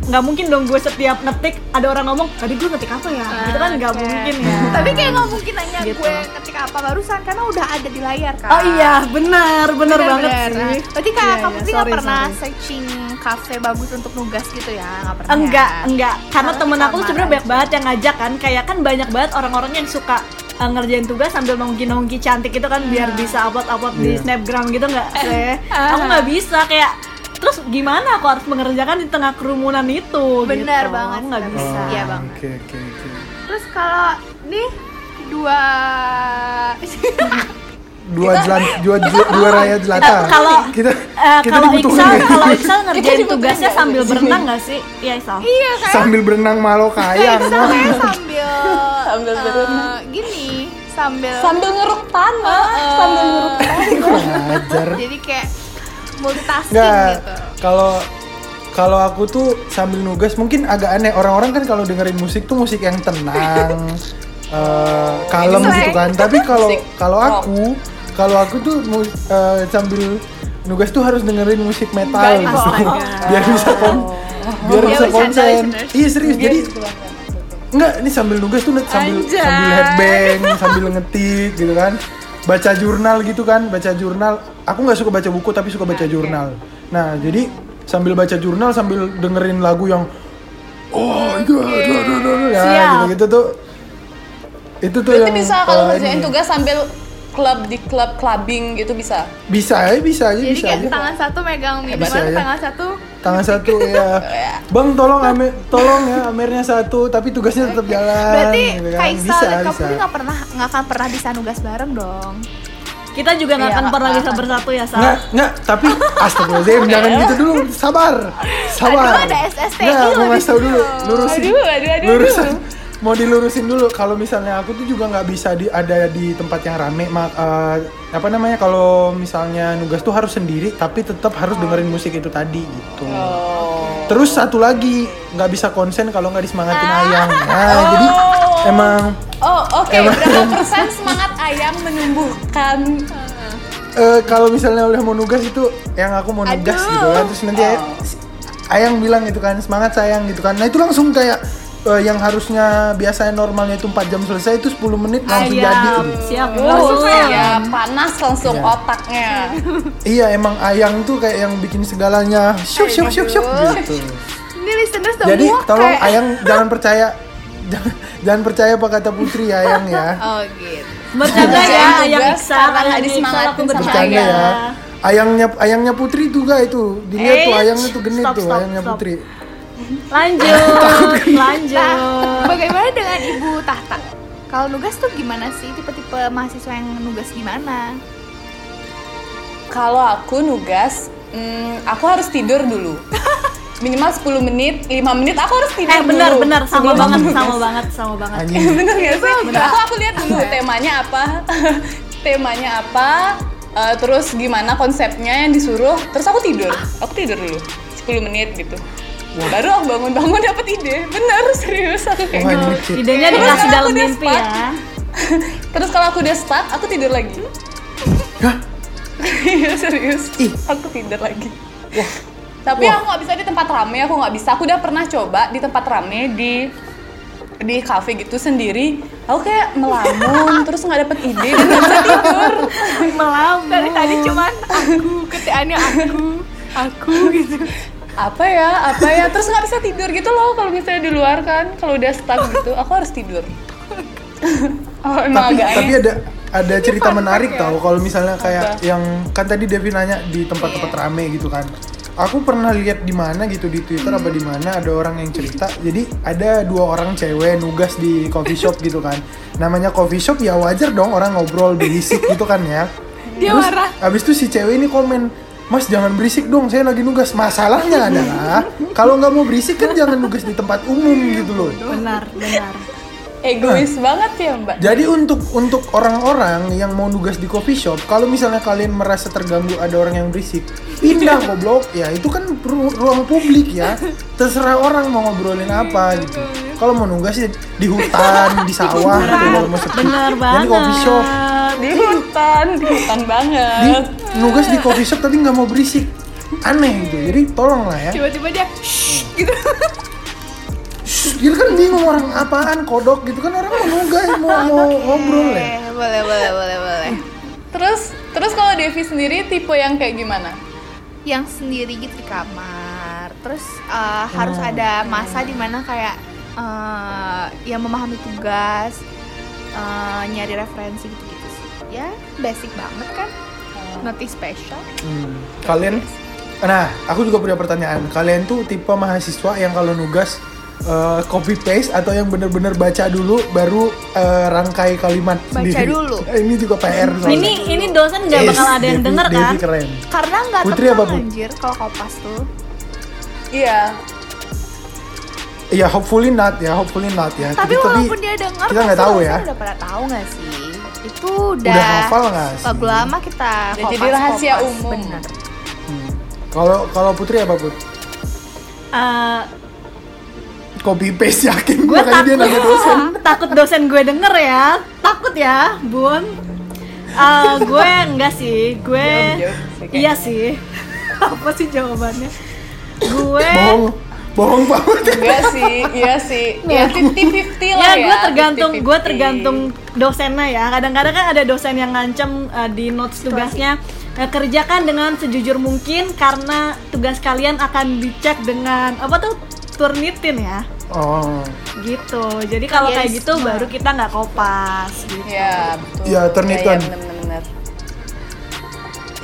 Speaker 4: nggak mungkin dong gue setiap ngetik ada orang ngomong tadi gue ngetik apa ya? gitu kan nggak
Speaker 1: Ah, Oke.
Speaker 4: mungkin ya.
Speaker 1: Tapi kayak nggak mungkin nanya
Speaker 4: Gitu.
Speaker 1: gue ketika apa barusan karena udah ada di layar kan.
Speaker 4: Oh iya, benar, benar banget sih.
Speaker 1: Berarti Kak
Speaker 4: Iya,
Speaker 1: Kak
Speaker 4: iya,
Speaker 1: Putri nggak
Speaker 4: sorry,
Speaker 1: pernah
Speaker 4: sorry.
Speaker 1: searching kafe bagus untuk nugas gitu ya? Nggak pernah.
Speaker 4: enggak enggak karena
Speaker 1: Karena
Speaker 4: temen aku tuh
Speaker 1: sama
Speaker 4: sebenarnya
Speaker 1: aja.
Speaker 4: banyak banget yang ngajak kan kayak kan banyak banget orang-orang yang suka eh, ngerjain tugas sambil nongki nongki cantik itu kan biar bisa upload upload
Speaker 2: Iya.
Speaker 4: di snapgram gitu nggak sih aku nggak bisa kayak terus gimana aku harus mengerjakan di tengah kerumunan itu
Speaker 1: Benar
Speaker 4: gitu.
Speaker 1: banget,
Speaker 4: aku nggak
Speaker 1: benar
Speaker 4: bisa
Speaker 1: banget. Iya, Bang.
Speaker 2: Oke, oke, oke.
Speaker 1: Terus kalau nih dua
Speaker 2: Dua jelan, dua, dua, dua raya jelata.
Speaker 4: Kalau-
Speaker 2: kita,
Speaker 4: Eh,
Speaker 2: kita
Speaker 4: kalau
Speaker 2: dibutuhin
Speaker 4: Iksal
Speaker 2: ya.
Speaker 4: kalau Iksal ngerjain
Speaker 3: dibutuhin
Speaker 4: tugasnya
Speaker 3: nggak
Speaker 4: sambil
Speaker 3: di sini?
Speaker 4: berenang nggak sih iya Iksal
Speaker 1: iya kayak
Speaker 2: sambil berenang malu kayang.
Speaker 1: Sama ya sambil
Speaker 3: Eh, iya, Sambil
Speaker 1: eh,
Speaker 3: berenang.
Speaker 1: gini sambil, eh,
Speaker 3: Sambil ngeruk tanah, sambil ngeruk
Speaker 2: Kurang ajar.
Speaker 1: jadi kayak multitasking
Speaker 2: Nggak,
Speaker 1: gitu.
Speaker 2: kalau kalau aku tuh sambil nugas mungkin agak aneh orang-orang kan kalau dengerin musik tuh musik yang tenang, eh, kalem
Speaker 1: Ini
Speaker 2: gitu
Speaker 1: slang.
Speaker 2: kan. Tapi kalau
Speaker 3: Musik
Speaker 2: kalau
Speaker 3: rock.
Speaker 2: aku kalau aku tuh mu- eh, sambil nugas tuh harus dengerin musik metal
Speaker 1: Baik,
Speaker 2: gitu.
Speaker 1: astaga.
Speaker 2: biar bisa kon biar
Speaker 1: Dia
Speaker 2: bisa
Speaker 1: bercanda,
Speaker 2: konsen.
Speaker 1: listeners.
Speaker 2: Iya serius jadi
Speaker 3: tanah.
Speaker 2: Enggak, ini sambil nugas tuh Nat. sambil
Speaker 1: Anjay.
Speaker 2: sambil headbang, sambil ngetik gitu kan. Baca jurnal gitu kan, baca jurnal. Aku nggak suka baca buku tapi suka baca jurnal. Nah, jadi sambil baca jurnal sambil dengerin lagu yang oh iya iya, iya, iya, iya, ya,
Speaker 4: Siap.
Speaker 2: gitu-gitu tuh. Itu tuh
Speaker 3: Berarti
Speaker 2: yang
Speaker 3: bisa kalau
Speaker 2: eh,
Speaker 3: ngerjain
Speaker 2: ini.
Speaker 3: tugas sambil klub di klub clubbing gitu bisa.
Speaker 2: Bisa aja, bisa aja,
Speaker 1: Jadi
Speaker 2: bisa
Speaker 1: kayak
Speaker 2: aja. Eh,
Speaker 1: tangan satu megang minuman,
Speaker 2: aja. Eh,
Speaker 1: tangan satu
Speaker 2: tangan satu ya bang tolong amer tolong ya amernya satu tapi tugasnya tetap jalan
Speaker 1: Berarti
Speaker 2: gitu kan.
Speaker 1: Kak Iksal dan Kak
Speaker 2: bisa
Speaker 1: Putri nggak pernah nggak akan pernah bisa nugas bareng dong.
Speaker 4: Kita juga nggak
Speaker 3: Iya,
Speaker 4: akan
Speaker 3: nggak
Speaker 4: pernah bisa
Speaker 3: akan.
Speaker 4: bersatu ya, Sal.
Speaker 2: Nggak, nggak, tapi astagfirullahaladzim, jangan gitu dulu, sabar, sabar
Speaker 1: Aduh, ada SSTI
Speaker 2: Nggak,
Speaker 1: loh
Speaker 2: mau
Speaker 1: di
Speaker 2: ngasih tau
Speaker 1: situ.
Speaker 2: dulu, lurusin
Speaker 3: Aduh, aduh, aduh,
Speaker 2: Lurusin, mau dilurusin dulu Kalau misalnya aku tuh juga nggak bisa di, ada di tempat yang rame ma- eh, Apa namanya, kalau misalnya nugas tuh harus sendiri Tapi tetap harus dengerin musik itu tadi gitu
Speaker 3: Oh.
Speaker 2: Terus satu lagi, nggak bisa konsen kalau nggak disemangatin ayang Nah, jadi emang
Speaker 3: Oh, oke.
Speaker 2: Emang-
Speaker 3: Berapa persen semangat ayam menumbuhkan?
Speaker 2: eh, kalau misalnya udah mau nugas itu yang aku mau nugas gitu kan terus nanti ay- si- ayang bilang gitu kan semangat sayang gitu kan nah itu langsung kayak eh, yang harusnya biasanya normalnya itu 4 jam selesai itu 10 menit langsung jadi
Speaker 4: Siap,
Speaker 2: gitu.
Speaker 4: Iya. siap.
Speaker 3: Langsung
Speaker 4: Wow.
Speaker 3: ya, panas langsung
Speaker 2: Iya.
Speaker 3: otaknya.
Speaker 2: iya emang ayang tuh kayak yang bikin segalanya syuk syuk syuk syuk gitu
Speaker 1: Ini listeners semua
Speaker 2: jadi tolong
Speaker 1: kayak-
Speaker 2: ayang jangan percaya jangan, jangan percaya apa kata putri ya ayang ya
Speaker 3: Oh gitu.
Speaker 4: Bercanda ya,
Speaker 3: Tugas
Speaker 4: yang Iksal,
Speaker 3: karena
Speaker 4: ayang Iksal
Speaker 3: disemangatin
Speaker 4: aku
Speaker 3: sama
Speaker 4: bercanda.
Speaker 2: bercanda ya ayangnya ayangnya putri juga itu dilihat
Speaker 4: Eh,
Speaker 2: tuh ayangnya tuh genit
Speaker 4: stop,
Speaker 2: tuh
Speaker 4: stop,
Speaker 2: ayangnya
Speaker 4: stop.
Speaker 2: putri
Speaker 4: Lanjut,
Speaker 1: Nah,
Speaker 4: lanjut.
Speaker 1: bagaimana dengan Ibu Tahta? Kalau nugas tuh gimana sih? Tipe-tipe mahasiswa yang nugas gimana?
Speaker 3: Kalau aku nugas, hmm, aku harus tidur dulu. Minimal 10 menit, 5 menit aku harus tidur
Speaker 4: Eh benar
Speaker 3: dulu.
Speaker 4: benar sama
Speaker 3: Sebelum
Speaker 4: banget
Speaker 3: aku nugas.
Speaker 4: sama banget sama banget.
Speaker 2: anjing
Speaker 3: bener gak sih? Aku aku lihat dulu temanya apa, temanya apa, eh, terus gimana konsepnya yang disuruh, terus aku tidur, aku tidur dulu 10 menit gitu. Baru aku bangun-bangun dapet ide, bener serius aku
Speaker 2: Wah,
Speaker 3: kayak
Speaker 4: Oh
Speaker 3: gitu.
Speaker 2: anjing, Cit.
Speaker 4: Idenya
Speaker 3: Terus
Speaker 4: dikasih
Speaker 3: kalau
Speaker 4: dalam
Speaker 3: aku udah
Speaker 4: mimpi
Speaker 3: stuck,
Speaker 4: ya.
Speaker 3: Terus kalau aku udah stuck, aku tidur lagi.
Speaker 2: Hah?
Speaker 3: Iya serius,
Speaker 2: Ih.
Speaker 3: aku tidur lagi. Tapi aku nggak bisa di tempat rame, aku nggak bisa. Aku udah pernah coba di tempat rame di di kafe gitu sendiri. Aku kayak melamun, terus nggak dapet ide, dan nggak bisa tidur.
Speaker 4: Melamun.
Speaker 1: Dari tadi cuman aku, ketiannya aku, aku gitu.
Speaker 3: Apa ya, apa ya, terus nggak bisa tidur gitu loh. Kalau misalnya di luar kan, kalau udah stuck gitu, aku harus tidur. oh, emang
Speaker 2: tapi
Speaker 3: agak
Speaker 2: tapi
Speaker 3: aneh.
Speaker 2: ada ada cerita
Speaker 4: ya.
Speaker 2: menarik tau kalau misalnya kayak
Speaker 3: Apa?
Speaker 2: yang kan tadi Devi nanya di tempat-tempat
Speaker 4: Iya.
Speaker 2: rame gitu kan aku pernah lihat di mana gitu di Twitter apa di mana ada orang yang cerita jadi ada dua orang cewek nugas di coffee shop gitu kan namanya coffee shop ya wajar dong orang ngobrol berisik gitu kan ya
Speaker 1: Dia
Speaker 2: Terus,
Speaker 1: marah.
Speaker 2: abis itu si cewek ini komen Mas jangan berisik dong, saya lagi nugas. Masalahnya adalah kalau nggak mau berisik kan jangan nugas di tempat umum gitu loh.
Speaker 4: Benar, benar.
Speaker 3: Egois banget ya mbak.
Speaker 2: Jadi untuk untuk orang-orang yang mau nugas di coffee shop, kalau misalnya kalian merasa terganggu ada orang yang berisik, pindah goblok. Ya itu kan ru- ruang publik ya. Terserah orang mau ngobrolin apa gitu. Kalau mau nugas ya di hutan, di sawah, gitu, kalau mau sepi.
Speaker 4: Benar
Speaker 2: Jangan
Speaker 4: banget.
Speaker 2: Di coffee shop.
Speaker 3: Di hutan, di hutan
Speaker 2: Di,
Speaker 4: Eh.
Speaker 3: banget.
Speaker 2: nugas di coffee shop tapi nggak mau berisik. Aneh gitu. Jadi tolonglah ya.
Speaker 1: Tiba-tiba dia, shh, gitu.
Speaker 2: Gila kan bingung orang apaan kodok gitu kan orang mau nugas mau, mau ngobrol ya.
Speaker 1: Eh, boleh, boleh, boleh, boleh.
Speaker 3: Terus terus kalau Devi sendiri tipe yang kayak gimana?
Speaker 1: Yang sendiri gitu di kamar. Terus
Speaker 2: Oh.
Speaker 1: eh, harus ada masa dimana kayak eh, yang memahami tugas, eh, nyari referensi gitu-gitu sih. Ya, basic banget kan.
Speaker 2: Oh.
Speaker 1: Nothing special.
Speaker 2: Hmm. Kalian, nah aku juga punya pertanyaan. Kalian tuh tipe mahasiswa yang kalau nugas eh, copy paste atau yang bener-bener baca dulu baru eh, rangkai kalimat
Speaker 1: Baca
Speaker 2: sendiri?
Speaker 1: dulu.
Speaker 2: Eh, Ini juga PR. soalnya.
Speaker 4: Ini ini dosen nggak
Speaker 2: Eh,
Speaker 4: bakal ada yang
Speaker 2: Devi-
Speaker 4: denger
Speaker 2: Devi
Speaker 4: kan?
Speaker 2: keren.
Speaker 1: Karena nggak
Speaker 2: Putri
Speaker 1: tenang
Speaker 2: apa, Put?
Speaker 1: anjir kalau kopas tuh.
Speaker 3: Iya.
Speaker 2: Iya, hopefully not ya, hopefully not ya.
Speaker 1: tapi
Speaker 2: Kita-
Speaker 1: walaupun dia dengar
Speaker 2: kita nggak
Speaker 1: pasti
Speaker 2: tahu
Speaker 1: orang
Speaker 2: ya.
Speaker 1: kan udah pada tahu nggak sih itu udah
Speaker 2: udah hafal nggak sih?
Speaker 1: lagu lama kita
Speaker 3: Udah jadi rahasia umum.
Speaker 1: bener.
Speaker 2: Hmm. Kalau kalau Putri apa Put?
Speaker 4: Eh,
Speaker 2: Copy paste yakin
Speaker 4: gue
Speaker 2: gua kayaknya dia nanya dosen.
Speaker 4: takut takut dosen gue denger ya takut ya bun Eh, gue enggak sih gue
Speaker 3: Jawab, jawab.
Speaker 4: iya sih apa sih jawabannya gue
Speaker 2: Bohong, bohong Pak Put.
Speaker 3: Enggak sih, iya sih.
Speaker 1: Nah.
Speaker 3: Ya 50-50
Speaker 4: ya
Speaker 3: lah ya.
Speaker 4: gue tergantung gue
Speaker 3: 50-50.
Speaker 4: tergantung dosennya ya kadang-kadang kan ada dosen yang ngancem eh, di notes tugasnya eh, kerjakan dengan sejujur mungkin karena tugas kalian akan dicek dengan apa tuh turnitin ya
Speaker 2: Oh.
Speaker 4: gitu jadi kalau
Speaker 3: Yes.
Speaker 4: kayak gitu baru kita nggak kopas gitu
Speaker 3: Iya, betul.
Speaker 2: Iya, turnitin.
Speaker 3: Iya, bener benar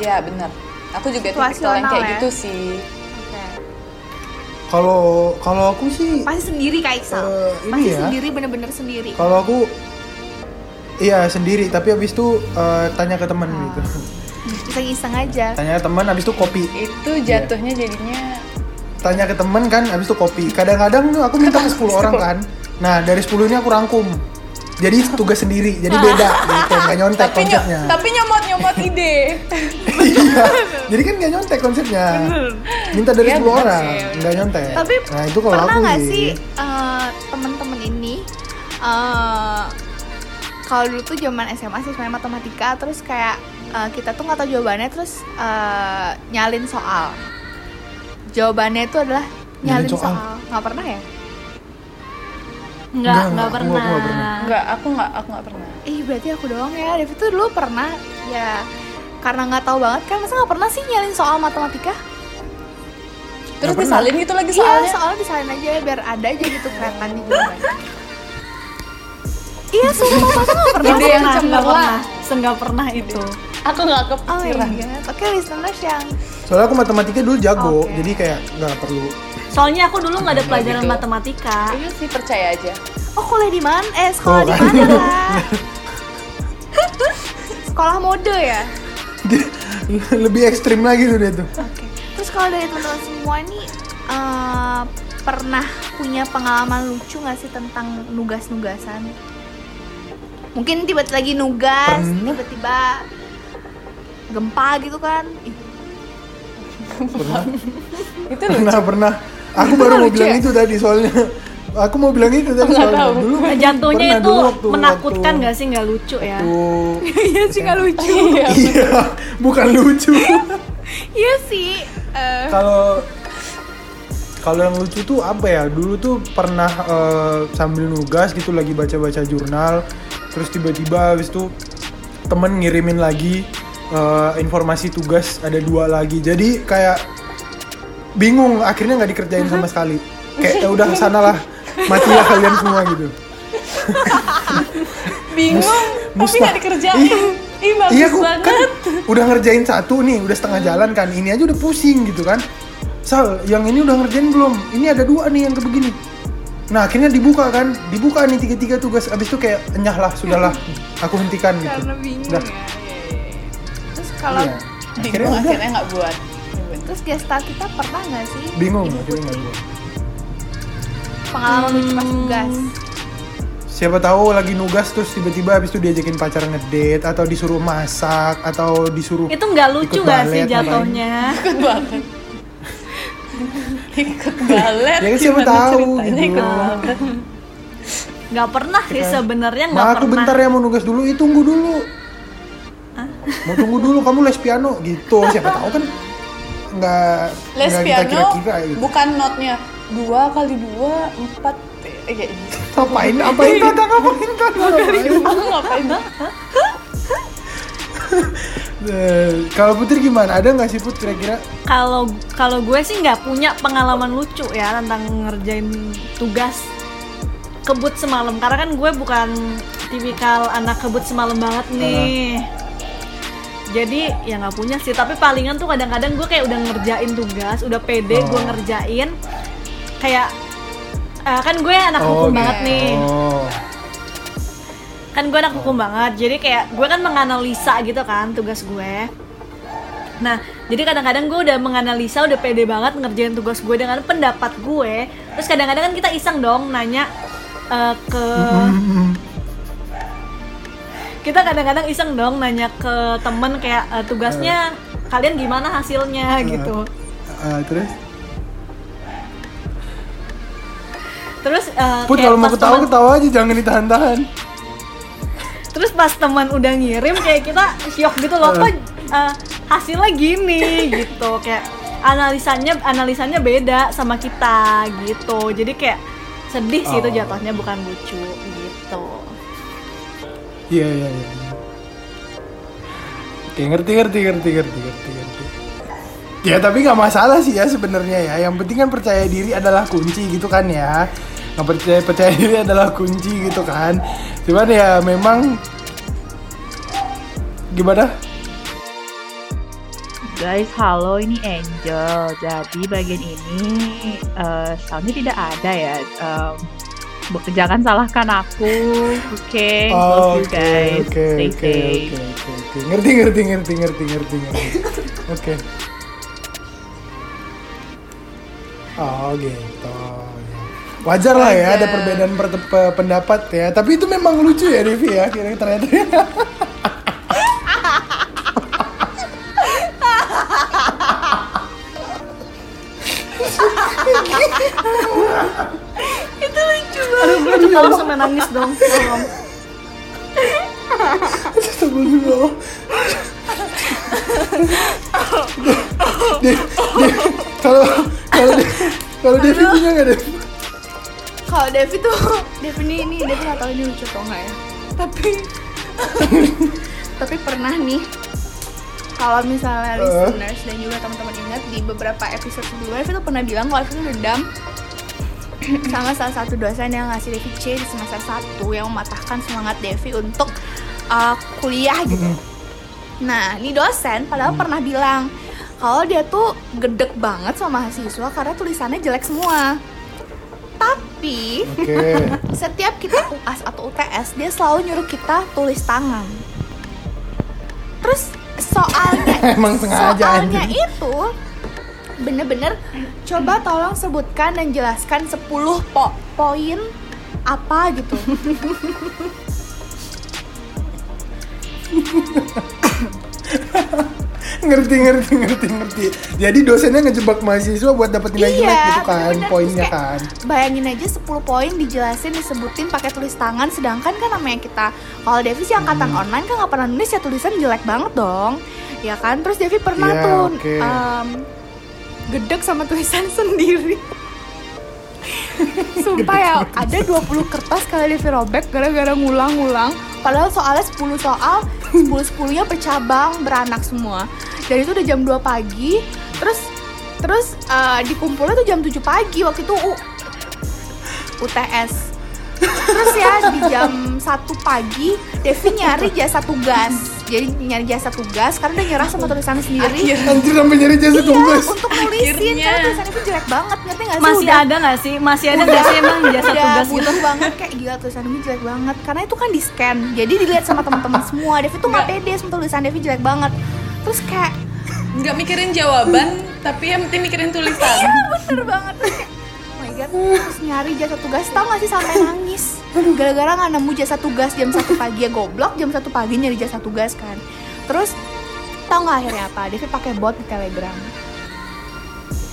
Speaker 3: Iya, benar. Aku juga tipikal yang
Speaker 1: Situasional
Speaker 3: kayak
Speaker 1: ya.
Speaker 3: gitu sih.
Speaker 1: Oke.
Speaker 2: Kalau kalau aku sih
Speaker 1: Pasti sendiri Kak Iksal.
Speaker 2: Eh, ini
Speaker 1: Pasti
Speaker 2: ya.
Speaker 1: sendiri bener-bener sendiri.
Speaker 2: kalau aku iya sendiri tapi habis itu eh, tanya ke teman gitu.
Speaker 1: Iseng-iseng aja.
Speaker 2: Tanya ke teman habis itu kopi.
Speaker 3: Itu jatuhnya jadinya
Speaker 2: Tanya ke teman kan habis itu kopi. Kadang-kadang tuh aku minta ke 10 orang kan. Nah, dari 10 ini aku rangkum. Jadi tugas sendiri, jadi beda gitu, nggak nyontek
Speaker 3: tapi nyo-
Speaker 2: konsepnya.
Speaker 3: tapi nyomot nyomot ide.
Speaker 2: Iya. Jadi kan nggak nyontek konsepnya. Minta dari 10
Speaker 3: Iya, bener
Speaker 2: orang,
Speaker 3: sih, bener.
Speaker 2: nggak nyontek.
Speaker 1: Tapi
Speaker 2: nah, itu kalau
Speaker 1: pernah
Speaker 2: aku
Speaker 1: nggak sih eh, temen-temen ini eh, kalau dulu tuh zaman SMA sih sebenarnya matematika terus kayak eh, kita tuh nggak tahu jawabannya terus eh, nyalin soal. Jawabannya itu adalah nyalin,
Speaker 2: Nyalin
Speaker 1: soal.
Speaker 2: soal.
Speaker 1: Nggak pernah ya?
Speaker 4: Enggak,
Speaker 2: Enggak,
Speaker 4: enggak
Speaker 2: enggak, aku-
Speaker 4: pernah.
Speaker 2: aku enggak pernah.
Speaker 3: Enggak, aku nggak aku nggak pernah.
Speaker 1: Ih berarti aku doang ya. Devi tuh dulu pernah ya karena nggak tahu banget kan masa nggak pernah sih nyalin soal matematika?
Speaker 3: Terus
Speaker 2: pernah.
Speaker 3: disalin gitu lagi
Speaker 1: Iya
Speaker 3: soalnya.
Speaker 1: soalnya disalin aja biar ada aja gitu kelihatannya jawabannya. Iya, sumpah masa nggak pernah
Speaker 3: Ide
Speaker 4: Enggak
Speaker 3: yang
Speaker 4: pernah, enggak
Speaker 3: cemerlang.
Speaker 4: pernah. Enggak pernah itu.
Speaker 3: Aku nggak
Speaker 1: Oh iya,
Speaker 3: kepikiran.
Speaker 1: oke listeners yang
Speaker 2: Soalnya aku matematika dulu jago,
Speaker 1: Oke.
Speaker 2: jadi kayak nggak perlu.
Speaker 4: Soalnya aku dulu nggak ada pelajaran
Speaker 3: gitu.
Speaker 4: matematika.
Speaker 3: Iya sih percaya aja.
Speaker 1: oh kuliah di mana? Eh sekolah
Speaker 2: Oh,
Speaker 1: di
Speaker 2: kan.
Speaker 1: mana lah? sekolah mode ya.
Speaker 2: Lebih ekstrim lagi tuh dia tuh.
Speaker 1: Oke. Terus kalau dari teman-teman semua nih eh, pernah punya pengalaman lucu nggak sih tentang nugas-nugasan? Mungkin tiba-tiba lagi nugas,
Speaker 2: Pernah.
Speaker 1: tiba-tiba gempa gitu kan? Ih,
Speaker 2: Pernah,
Speaker 3: Itu loh.
Speaker 2: pernah, pernah. Aku
Speaker 3: Itu
Speaker 2: baru mau
Speaker 3: lucu
Speaker 2: bilang
Speaker 3: ya?
Speaker 2: itu tadi soalnya. Aku mau bilang itu tadi
Speaker 3: Nggak
Speaker 2: soalnya
Speaker 3: tahu.
Speaker 2: dulu.
Speaker 4: Jatuhnya
Speaker 2: pernah
Speaker 4: Nah, itu
Speaker 2: dulu waktu-
Speaker 4: menakutkan
Speaker 2: waktu-
Speaker 4: nggak sih? Nggak lucu ya?
Speaker 2: waktu-
Speaker 1: Iya sih nggak lucu.
Speaker 2: Iya, bukan lucu.
Speaker 1: Iya sih. eh,
Speaker 2: Kalau kalau yang lucu tuh apa ya? Dulu tuh pernah eh, sambil nugas gitu lagi baca-baca jurnal, terus tiba-tiba habis itu temen ngirimin lagi eh, informasi tugas ada dua lagi. Jadi kayak bingung akhirnya nggak dikerjain sama sekali. Kayak ya udah sanalah matilah kalian semua gitu.
Speaker 3: Bingung, tapi
Speaker 2: Mustah-
Speaker 3: nggak dikerjain. Ih, bagus
Speaker 2: iya aku
Speaker 3: banget.
Speaker 2: kan udah ngerjain satu nih udah setengah jalan kan ini aja udah pusing gitu kan sal yang ini udah ngerjain belum ini ada dua nih yang kebegini nah akhirnya dibuka kan dibuka nih tiga tiga tugas abis itu kayak enyah lah sudahlah aku hentikan gitu
Speaker 1: Karena bingung
Speaker 2: Udah,
Speaker 1: ya. Terus kalau
Speaker 2: iya. akhirnya
Speaker 3: Bingung
Speaker 2: udah
Speaker 3: akhirnya nggak buat.
Speaker 1: terus gestar kita pernah nggak sih
Speaker 2: bingung akhirnya nggak buat.
Speaker 1: pengalaman lucu pas tugas?
Speaker 2: siapa tahu lagi nugas terus tiba-tiba abis itu diajakin pacar ngedate atau disuruh masak atau disuruh
Speaker 4: Itu nggak
Speaker 2: Ikut
Speaker 4: lucu nggak sih
Speaker 2: balet,
Speaker 4: jatuhnya?
Speaker 3: Ikut banget. Ikut balet.
Speaker 2: Ya kan siapa
Speaker 3: gimana
Speaker 2: tahu
Speaker 3: ceritanya
Speaker 2: gitu.
Speaker 3: ikut balet.
Speaker 4: Nggak pernah sih sebenarnya Kan nggak
Speaker 2: Ma, aku
Speaker 4: pernah.
Speaker 2: bentar ya mau nugas dulu, ih tunggu dulu. Mau tunggu dulu, kamu les piano gitu. Siapa tahu kan nggak
Speaker 3: Les
Speaker 2: nggak kita
Speaker 3: piano
Speaker 2: kira-kira gitu.
Speaker 3: bukan notnya dua kali dua empat eh kayak gitu.
Speaker 2: Ngapain? Apain tata? Ngapain tata?
Speaker 3: Aku ngapain?
Speaker 2: Eh, Kalau Putri gimana? Ada nggak sih Put kira-kira?
Speaker 4: Kalau kalau gue sih nggak punya pengalaman lucu ya tentang ngerjain tugas kebut semalam karena kan gue bukan tipikal anak kebut semalam banget nih. Jadi ya nggak punya sih, tapi palingan tuh kadang-kadang gue kayak udah ngerjain tugas, udah pede gue
Speaker 2: Oh.
Speaker 4: ngerjain kayak eh, kan gue anak hukum
Speaker 2: gitu.
Speaker 4: banget nih.
Speaker 2: Oh.
Speaker 4: kan gue anak hukum banget jadi kayak gue kan menganalisa gitu kan tugas gue nah jadi kadang-kadang gue udah menganalisa udah pede banget ngerjain tugas gue dengan pendapat gue terus kadang-kadang kan kita iseng dong nanya eh, ke
Speaker 2: Mm-mm.
Speaker 4: kita kadang-kadang iseng dong nanya ke temen kayak eh, tugasnya kalian gimana
Speaker 2: Eh.
Speaker 4: hasilnya gitu
Speaker 2: Ah, terus?
Speaker 4: terus eh,
Speaker 2: Put
Speaker 4: kayak
Speaker 2: kalau mau
Speaker 4: pas
Speaker 2: ketawa
Speaker 4: temen-
Speaker 2: ketawa aja, jangan ditahan-tahan.
Speaker 4: terus pas teman udah ngirim kayak kita syok gitu loh kok eh, hasilnya gini gitu kayak analisanya analisanya beda sama kita gitu jadi kayak sedih sih itu
Speaker 2: Oh.
Speaker 4: jatuhnya bukan lucu gitu
Speaker 2: Iya iya iya. Oke ngerti ngerti ngerti ngerti ngerti ngerti. Ya tapi nggak masalah sih ya sebenarnya ya. Yang penting kan percaya diri adalah kunci gitu kan ya. Nggak percaya percaya diri adalah kunci gitu kan. Cuman ya memang gimana?
Speaker 5: Guys, halo ini Angel. Jadi bagian ini eh, soundnya tidak ada ya. Em, bu- jangan salahkan aku. Oke,
Speaker 2: Oh,
Speaker 5: love you guys. Stay safe.
Speaker 2: oke, oke, oke. Ngerti, ngerti, ngerti, ngerti, ngerti, ngerti. Oke. Oh gitu. Wajar lah ya ada perbedaan per- pe- pendapat ya. Tapi itu memang lucu ya Devi ya. Kira ternyata.
Speaker 4: Aduh, gue juga langsung menangis dong. Tolong.
Speaker 2: Tunggu dulu. Dev, Dev, Kalau kalau Dev- kalau Devi punya nggak Dev?
Speaker 1: Kalau Devi tuh, Devi ini, ini Devi nggak tahu ini lucu atau nggak ya. Tapi, tapi pernah nih. Kalau misalnya
Speaker 2: Eh.
Speaker 1: listeners dan juga teman-teman ingat di beberapa episode sebelumnya, Devi tuh pernah bilang kalau Devi tuh dendam sama salah satu dosen yang ngasih Devi C di semester 1 yang mematahkan semangat Devi untuk uh, kuliah gitu. Nah, ini dosen padahal pernah bilang kalau dia tuh gedek banget sama mahasiswa karena tulisannya jelek semua. Tapi
Speaker 2: Oke.
Speaker 1: setiap kita UAS atau UTS dia selalu nyuruh kita tulis tangan. Terus soalnya
Speaker 2: Emang sengaja,
Speaker 1: soalnya
Speaker 2: anjing.
Speaker 1: itu bener-bener coba tolong sebutkan dan jelaskan 10 po- poin apa gitu.
Speaker 2: Ngerti, ngerti, ngerti, ngerti. Jadi dosennya ngejebak mahasiswa buat dapat nilai jelek gitu kan,
Speaker 1: bener-bener.
Speaker 2: poinnya
Speaker 1: Iya, Terus kayak,
Speaker 2: kan.
Speaker 1: Bayangin aja 10 poin dijelasin disebutin pakai tulis tangan sedangkan kan namanya kita kalau Devi sih angkatan
Speaker 2: Hmm.
Speaker 1: online kan nggak pernah nulis ya tulisan jelek banget dong. Ya kan? Terus Devi pernah
Speaker 2: Iya,
Speaker 1: tuh
Speaker 2: oke.
Speaker 1: em, gedek sama tulisan sendiri. Sumpah ya, ada 20 kertas kali Devi robek gara-gara ngulang-ngulang Padahal soalnya 10 soal, 10-10-nya bercabang, beranak semua Dan itu udah jam 2 pagi, terus terus eh, dikumpulnya tuh jam 7 pagi waktu itu U- UTS Terus ya di jam 1 pagi Devi nyari jasa tugas Jadi nyari jasa tugas karena dia nyerah sama tulisan sendiri
Speaker 2: Anjir sampai nyari
Speaker 1: Iya.
Speaker 2: jasa tugas.
Speaker 1: Untuk nulisin,
Speaker 3: Akhirnya.
Speaker 1: karena tulisan itu jelek banget, ngerti gak sih?
Speaker 4: Masih
Speaker 1: Udah-
Speaker 4: ada nggak sih? Masih ada nggak sih emang
Speaker 1: udah
Speaker 4: jasa tugas
Speaker 1: Iya,
Speaker 4: gitu?
Speaker 1: butuh banget kayak gila tulisan Devi jelek banget karena itu kan di scan jadi dilihat sama teman-teman semua Devi tuh
Speaker 4: Iya.
Speaker 1: nggak pede sama tulisan Devi jelek banget terus kayak
Speaker 3: nggak mikirin jawaban tapi yang penting mikirin tulisan
Speaker 1: iya bener banget Terus kayak, oh my god terus nyari jasa tugas tau gak sih sampai nangis gara-gara nggak nemu jasa tugas jam satu pagi ya goblok jam satu pagi nyari jasa tugas kan terus tau nggak akhirnya apa Devi pakai bot di Telegram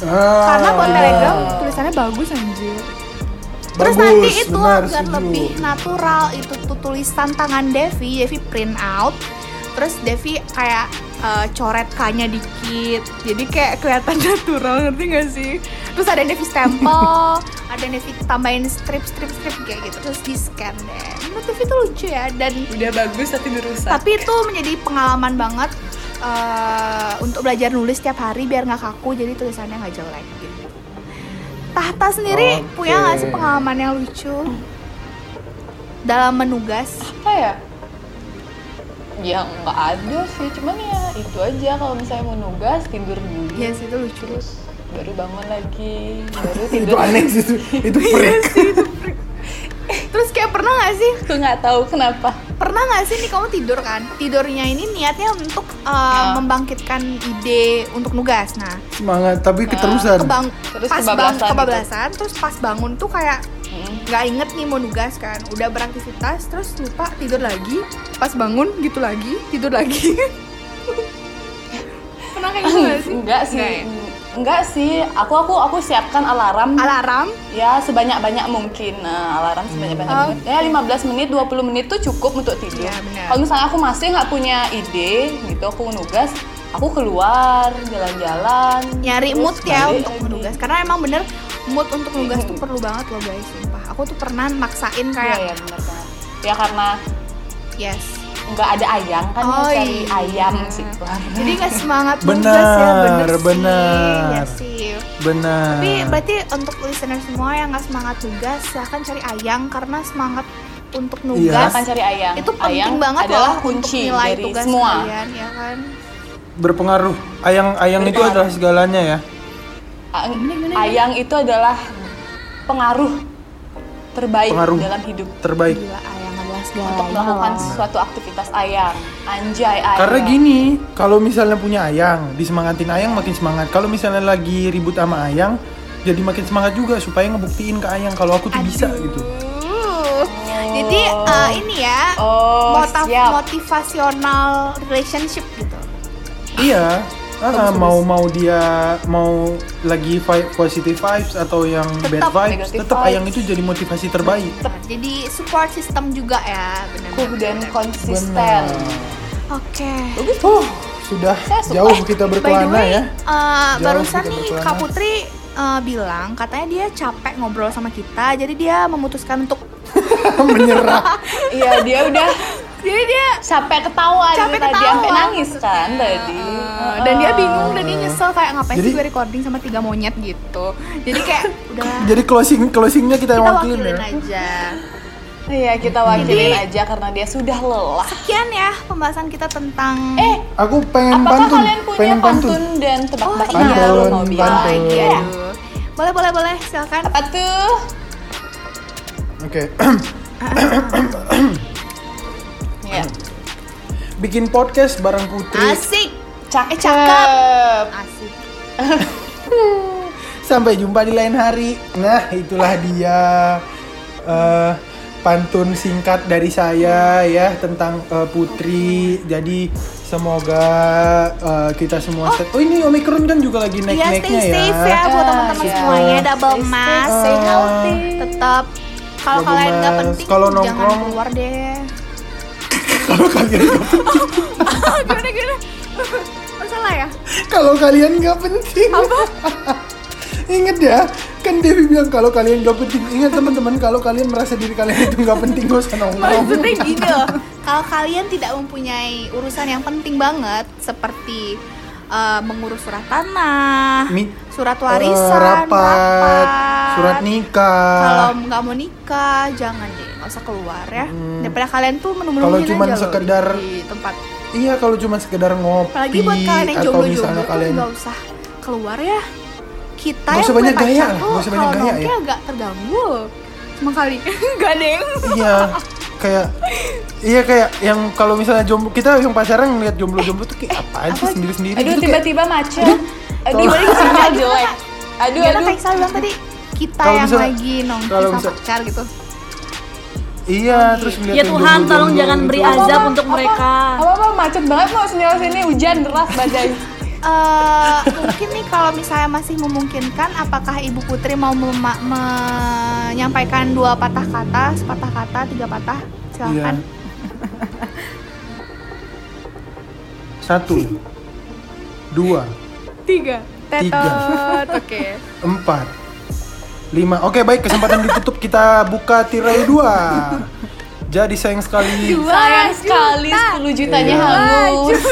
Speaker 2: Ah,
Speaker 1: karena bot
Speaker 2: iya.
Speaker 1: Telegram tulisannya bagus anjir Terus
Speaker 2: Bagus,
Speaker 1: nanti itu
Speaker 2: benar,
Speaker 1: agar
Speaker 2: setuju.
Speaker 1: lebih natural itu tuh tulisan tangan Devi, Devi print out. Terus Devi kayak eh, coret K-nya dikit. Jadi kayak kelihatan natural, ngerti gak sih? Terus ada yang Devi stempel, ada yang Devi tambahin strip-strip-strip kayak gitu. Terus di-scan deh. Menurut Devi tuh lucu ya dan
Speaker 3: udah bagus tapi dirusak
Speaker 1: tapi itu menjadi pengalaman banget eh, untuk belajar nulis setiap hari biar nggak kaku jadi tulisannya nggak jelek gitu. Tahta sendiri
Speaker 2: Oke.
Speaker 1: punya nggak sih pengalaman yang lucu dalam menugas?
Speaker 3: apa ya ya nggak ada sih cuman ya itu aja kalau misalnya mau nugas tidur dulu
Speaker 1: Iya sih, itu lucu.
Speaker 3: terus baru bangun lagi baru
Speaker 2: Itu
Speaker 3: tidur
Speaker 1: nah,
Speaker 2: aneh sih itu. Itu freak.
Speaker 1: Iya Terus kayak pernah nggak sih?
Speaker 3: aku nggak tahu kenapa
Speaker 1: Pernah nggak sih nih kamu tidur kan? Tidurnya ini niatnya untuk eh, membangkitkan ide untuk nugas. Nah,
Speaker 2: Semangat tapi keterusan.
Speaker 1: kebang
Speaker 3: Terus
Speaker 1: pas
Speaker 3: kebablasan
Speaker 1: bangun
Speaker 3: gitu.
Speaker 1: kebablasan, terus pas bangun tuh kayak
Speaker 3: Hmm.
Speaker 1: nggak inget nih mau nugas kan udah beraktivitas terus lupa tidur lagi pas bangun gitu lagi tidur lagi pernah kayak gitu gak sih
Speaker 3: enggak sih
Speaker 1: Nggak ya?
Speaker 3: enggak sih aku aku aku siapkan alarm
Speaker 1: alarm
Speaker 3: ya sebanyak-banyak mungkin nah, alarm sebanyak-banyak
Speaker 1: Oh.
Speaker 3: mungkin ya 15 menit 20 menit tuh cukup untuk tidur
Speaker 1: Iya, benar.
Speaker 3: kalau misalnya aku masih nggak punya ide gitu aku nugas aku keluar jalan-jalan
Speaker 1: nyari
Speaker 3: terus
Speaker 1: mood ya
Speaker 3: balik
Speaker 1: untuk
Speaker 3: lagi.
Speaker 1: menugas karena emang bener mood untuk nugas tuh perlu banget loh guys sumpah aku tuh pernah maksain
Speaker 3: iya
Speaker 1: kayak
Speaker 3: ya benar banget ya karena
Speaker 1: yes
Speaker 3: nggak ada ayam kan
Speaker 1: Oh,
Speaker 3: oh, cari
Speaker 1: iya.
Speaker 3: ayam sih keluar.
Speaker 1: jadi nggak semangat
Speaker 2: Benar,
Speaker 1: nugas ya bener,
Speaker 2: benar.
Speaker 1: sih ya sih
Speaker 2: Benar.
Speaker 1: Tapi berarti untuk listener semua yang nggak semangat tugas silahkan cari ayang karena semangat untuk
Speaker 2: Iya.
Speaker 1: nugas
Speaker 3: akan cari ayam
Speaker 1: itu penting
Speaker 3: ayam
Speaker 1: banget
Speaker 3: adalah
Speaker 1: loh
Speaker 3: kunci
Speaker 1: untuk nilai
Speaker 3: dari
Speaker 1: tugas
Speaker 3: semua
Speaker 1: kalian ya kan
Speaker 2: berpengaruh. Ayang ayang itu
Speaker 3: Berpengaruh.
Speaker 2: adalah segalanya ya.
Speaker 3: A- Ayang itu adalah pengaruh terbaik
Speaker 2: Pengaruh.
Speaker 3: dalam hidup
Speaker 2: Terbaik.
Speaker 1: Gila, ayang adalah
Speaker 3: untuk
Speaker 1: segalanya
Speaker 3: melakukan
Speaker 1: loh.
Speaker 3: suatu aktivitas ayang. Anjay ayang.
Speaker 2: Karena gini, kalau misalnya punya ayang, disemangatin ayang makin semangat. Kalau misalnya lagi ribut sama ayang, jadi makin semangat juga supaya ngebuktiin ke ayang kalau aku tuh bisa gitu.
Speaker 1: Aduh. Jadi eh, ini ya
Speaker 3: Oh,
Speaker 1: mota-
Speaker 3: siap.
Speaker 1: motivational relationship gitu.
Speaker 2: Iya. Ah, mau mau dia mau lagi vi- positive vibes atau yang
Speaker 1: Tetap
Speaker 2: bad vibes,
Speaker 3: negative
Speaker 2: tetap
Speaker 3: vibes.
Speaker 2: ayang itu jadi motivasi terbaik.
Speaker 1: Nah, Jadi support system juga ya,
Speaker 3: Kuh
Speaker 1: benar.
Speaker 3: dan konsisten.
Speaker 1: Oke.
Speaker 3: Bagus.
Speaker 2: Huh, sudah
Speaker 3: Saya suka.
Speaker 2: jauh
Speaker 1: By
Speaker 2: kita
Speaker 1: the
Speaker 2: berkelana
Speaker 1: way,
Speaker 2: ya. gitu
Speaker 1: eh, barusan
Speaker 2: kita
Speaker 1: nih
Speaker 2: berkelana.
Speaker 1: Kak Putri eh, bilang katanya dia capek ngobrol sama kita, jadi dia memutuskan untuk
Speaker 2: Menyerah.
Speaker 3: Iya dia udah
Speaker 1: jadi dia
Speaker 3: capek ketawa dari
Speaker 1: Capek
Speaker 3: tadi
Speaker 1: ketawa.
Speaker 3: sampai nangis kan tadi.
Speaker 1: Eh, dan dia bingung dan dia nyesel kayak ngapain sih
Speaker 2: Jadi-
Speaker 1: gue recording sama tiga monyet gitu. Jadi kayak udah
Speaker 2: Jadi closing closingnya kita,
Speaker 1: kita
Speaker 2: yang
Speaker 1: wakilin,
Speaker 2: wakilin ya.
Speaker 1: aja.
Speaker 3: Iya kita wakilin aja karena dia sudah lelah.
Speaker 1: Sekian ya pembahasan kita tentang
Speaker 3: Eh,
Speaker 2: Aku pengen
Speaker 3: apakah
Speaker 2: pantun,
Speaker 3: kalian punya
Speaker 2: pengen
Speaker 3: pantun, dan
Speaker 1: Oh
Speaker 3: tebak-tebakan
Speaker 1: iya,
Speaker 3: baru
Speaker 2: Pantun,
Speaker 3: mau
Speaker 1: Oh,
Speaker 3: bilang?
Speaker 2: pantun.
Speaker 1: iya. aduh. Boleh, boleh, boleh. Silakan.
Speaker 3: Apa tuh?
Speaker 2: Oke.
Speaker 3: Iya.
Speaker 2: Bikin podcast bareng Putri.
Speaker 1: Asik.
Speaker 3: Cakep.
Speaker 1: Eh, cakep. Asik.
Speaker 2: Sampai jumpa di lain hari. Nah, itulah dia eh, pantun singkat dari saya ya tentang eh, Putri. Jadi semoga eh, kita semua set- Oh, ini Omicron kan juga
Speaker 1: Iya,
Speaker 2: lagi
Speaker 1: stay
Speaker 2: naik-naiknya ya. Eh,
Speaker 1: safe ya, buat teman-teman
Speaker 3: Iya.
Speaker 1: semuanya. Double
Speaker 3: Stay safe,
Speaker 1: mask.
Speaker 2: stay healthy.
Speaker 1: Tetap kalau
Speaker 2: Double
Speaker 1: kalian nggak
Speaker 2: mask.
Speaker 1: penting
Speaker 2: Kalau
Speaker 1: jangan
Speaker 2: nongkrong-
Speaker 1: keluar deh.
Speaker 2: Kalau kalian
Speaker 1: gimana gimana? Masalah ya?
Speaker 2: kalau kalian nggak penting. Ingat ya, kan Devi bilang kalau kalian nggak penting. Ingat teman-teman, kalau kalian merasa diri kalian itu nggak penting, gak usah nongkrong.
Speaker 1: Maksudnya gini loh, kalau kalian tidak mempunyai urusan yang penting banget seperti eh, mengurus surat tanah,
Speaker 2: Mi-
Speaker 1: surat
Speaker 2: Eh,
Speaker 1: warisan,
Speaker 2: rapat, surat nikah.
Speaker 1: Kalau nggak mau nikah, jangan deh, nggak usah keluar ya.
Speaker 2: Hmm.
Speaker 1: Daripada kalian tuh menu
Speaker 2: Kalau
Speaker 1: aja
Speaker 2: cuman
Speaker 1: loh
Speaker 2: sekedar-
Speaker 1: di tempat.
Speaker 2: Iya kalau cuma sekedar ngopi
Speaker 1: Apalagi buat kalian yang
Speaker 2: atau
Speaker 1: jomblo-jomblo
Speaker 2: kan misalnya
Speaker 1: tuh
Speaker 2: kalian
Speaker 1: nggak usah keluar ya. Kita
Speaker 2: Nggak
Speaker 1: yang
Speaker 2: usah
Speaker 1: punya
Speaker 2: banyak gaya,
Speaker 1: pacar tuh
Speaker 2: nggak usah banyak
Speaker 1: kalau
Speaker 2: gaya ya.
Speaker 1: nongki agak terganggu. Cuma kali, nggak deng.
Speaker 2: iya kayak iya kayak yang kalau misalnya jomblo kita yang pacaran ngeliat jomblo-jomblo tuh kayak apaan sih sendiri-sendiri
Speaker 3: Aduh
Speaker 2: gitu kayak
Speaker 3: tiba-tiba macet. Aduh
Speaker 2: Tolong.
Speaker 3: ini sinyal jelek. Aduh
Speaker 1: Gimana
Speaker 3: aduh.
Speaker 1: kayak saya bilang tadi kita
Speaker 2: Kalau
Speaker 1: yang
Speaker 2: misalnya-
Speaker 1: lagi nongki
Speaker 2: kalau
Speaker 1: sama
Speaker 2: misalnya-
Speaker 1: pacar gitu.
Speaker 2: iya
Speaker 1: Oh,
Speaker 2: terus ngeliat
Speaker 4: Ya
Speaker 2: yang
Speaker 4: Tuhan,
Speaker 2: jomblo-jomblo
Speaker 4: tolong jangan beri
Speaker 2: gitu.
Speaker 4: azab untuk mereka.
Speaker 3: Apa apa macet banget loh sinyal sini hujan deras badai.
Speaker 1: Eh, mungkin nih kalau misalnya masih memungkinkan, apakah Ibu Putri mau mema- menyampaikan dua patah kata, sepatah kata, tiga patah?
Speaker 2: Iya.
Speaker 1: Silahkan.
Speaker 2: satu dua
Speaker 1: Tiga.
Speaker 2: Tiga.
Speaker 1: Tetot. Oke.
Speaker 2: empat lima oke baik kesempatan ditutup kita buka tirai dua jadi sayang sekali
Speaker 3: Sayang sekali 10 jutanya
Speaker 2: Iya.
Speaker 3: hangus.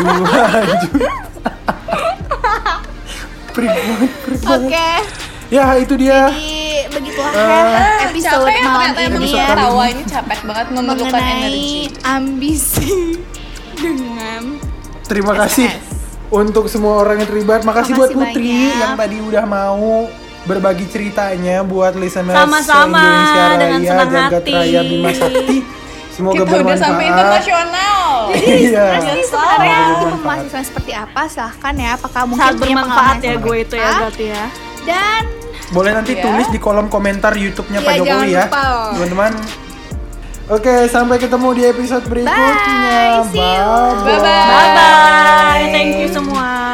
Speaker 2: dua juta Perik banget, perik banget.
Speaker 1: Oke.
Speaker 2: Ya itu dia
Speaker 1: Jadi begitulah ya
Speaker 2: Eh.
Speaker 1: episode
Speaker 3: Capek ya
Speaker 1: malam ini
Speaker 3: ternyata emang
Speaker 2: Episode
Speaker 1: ya
Speaker 2: kali
Speaker 3: ketawa ini capek banget memerlukan energi.
Speaker 1: mengenai ambisi dengan
Speaker 2: Terima kasih untuk semua orang yang terlibat Makasih
Speaker 1: Makasih
Speaker 2: buat Putri
Speaker 1: banyak.
Speaker 2: yang tadi udah mau berbagi ceritanya buat listeners
Speaker 4: Sama-sama,
Speaker 2: Indonesia Raya
Speaker 4: dengan senang
Speaker 2: Jagat
Speaker 4: hati.
Speaker 2: Raya Bima Sakti Semoga
Speaker 3: Kita udah
Speaker 2: bermanfaat
Speaker 3: sampai internasional.
Speaker 2: Iya
Speaker 1: Ini sebenarnya mahasiswa seperti apa silahkan ya apakah mungkin
Speaker 4: Sangat
Speaker 1: punya
Speaker 4: bermanfaat
Speaker 1: pengalaman
Speaker 4: ya
Speaker 1: seperti
Speaker 4: gue itu ya
Speaker 1: apa?
Speaker 4: berarti ya.
Speaker 1: dan
Speaker 2: Boleh nanti
Speaker 3: Iya.
Speaker 2: tulis di kolom komentar YouTube-nya
Speaker 1: Iya,
Speaker 2: Pak
Speaker 1: jangan
Speaker 2: Jokowi ya
Speaker 1: lupa loh.
Speaker 2: Teman-teman Oke, sampai ketemu di episode
Speaker 1: Bye,
Speaker 2: berikutnya.
Speaker 1: see you.
Speaker 2: Bye-bye.
Speaker 3: Bye-bye.
Speaker 4: Bye bye. Thank you semua.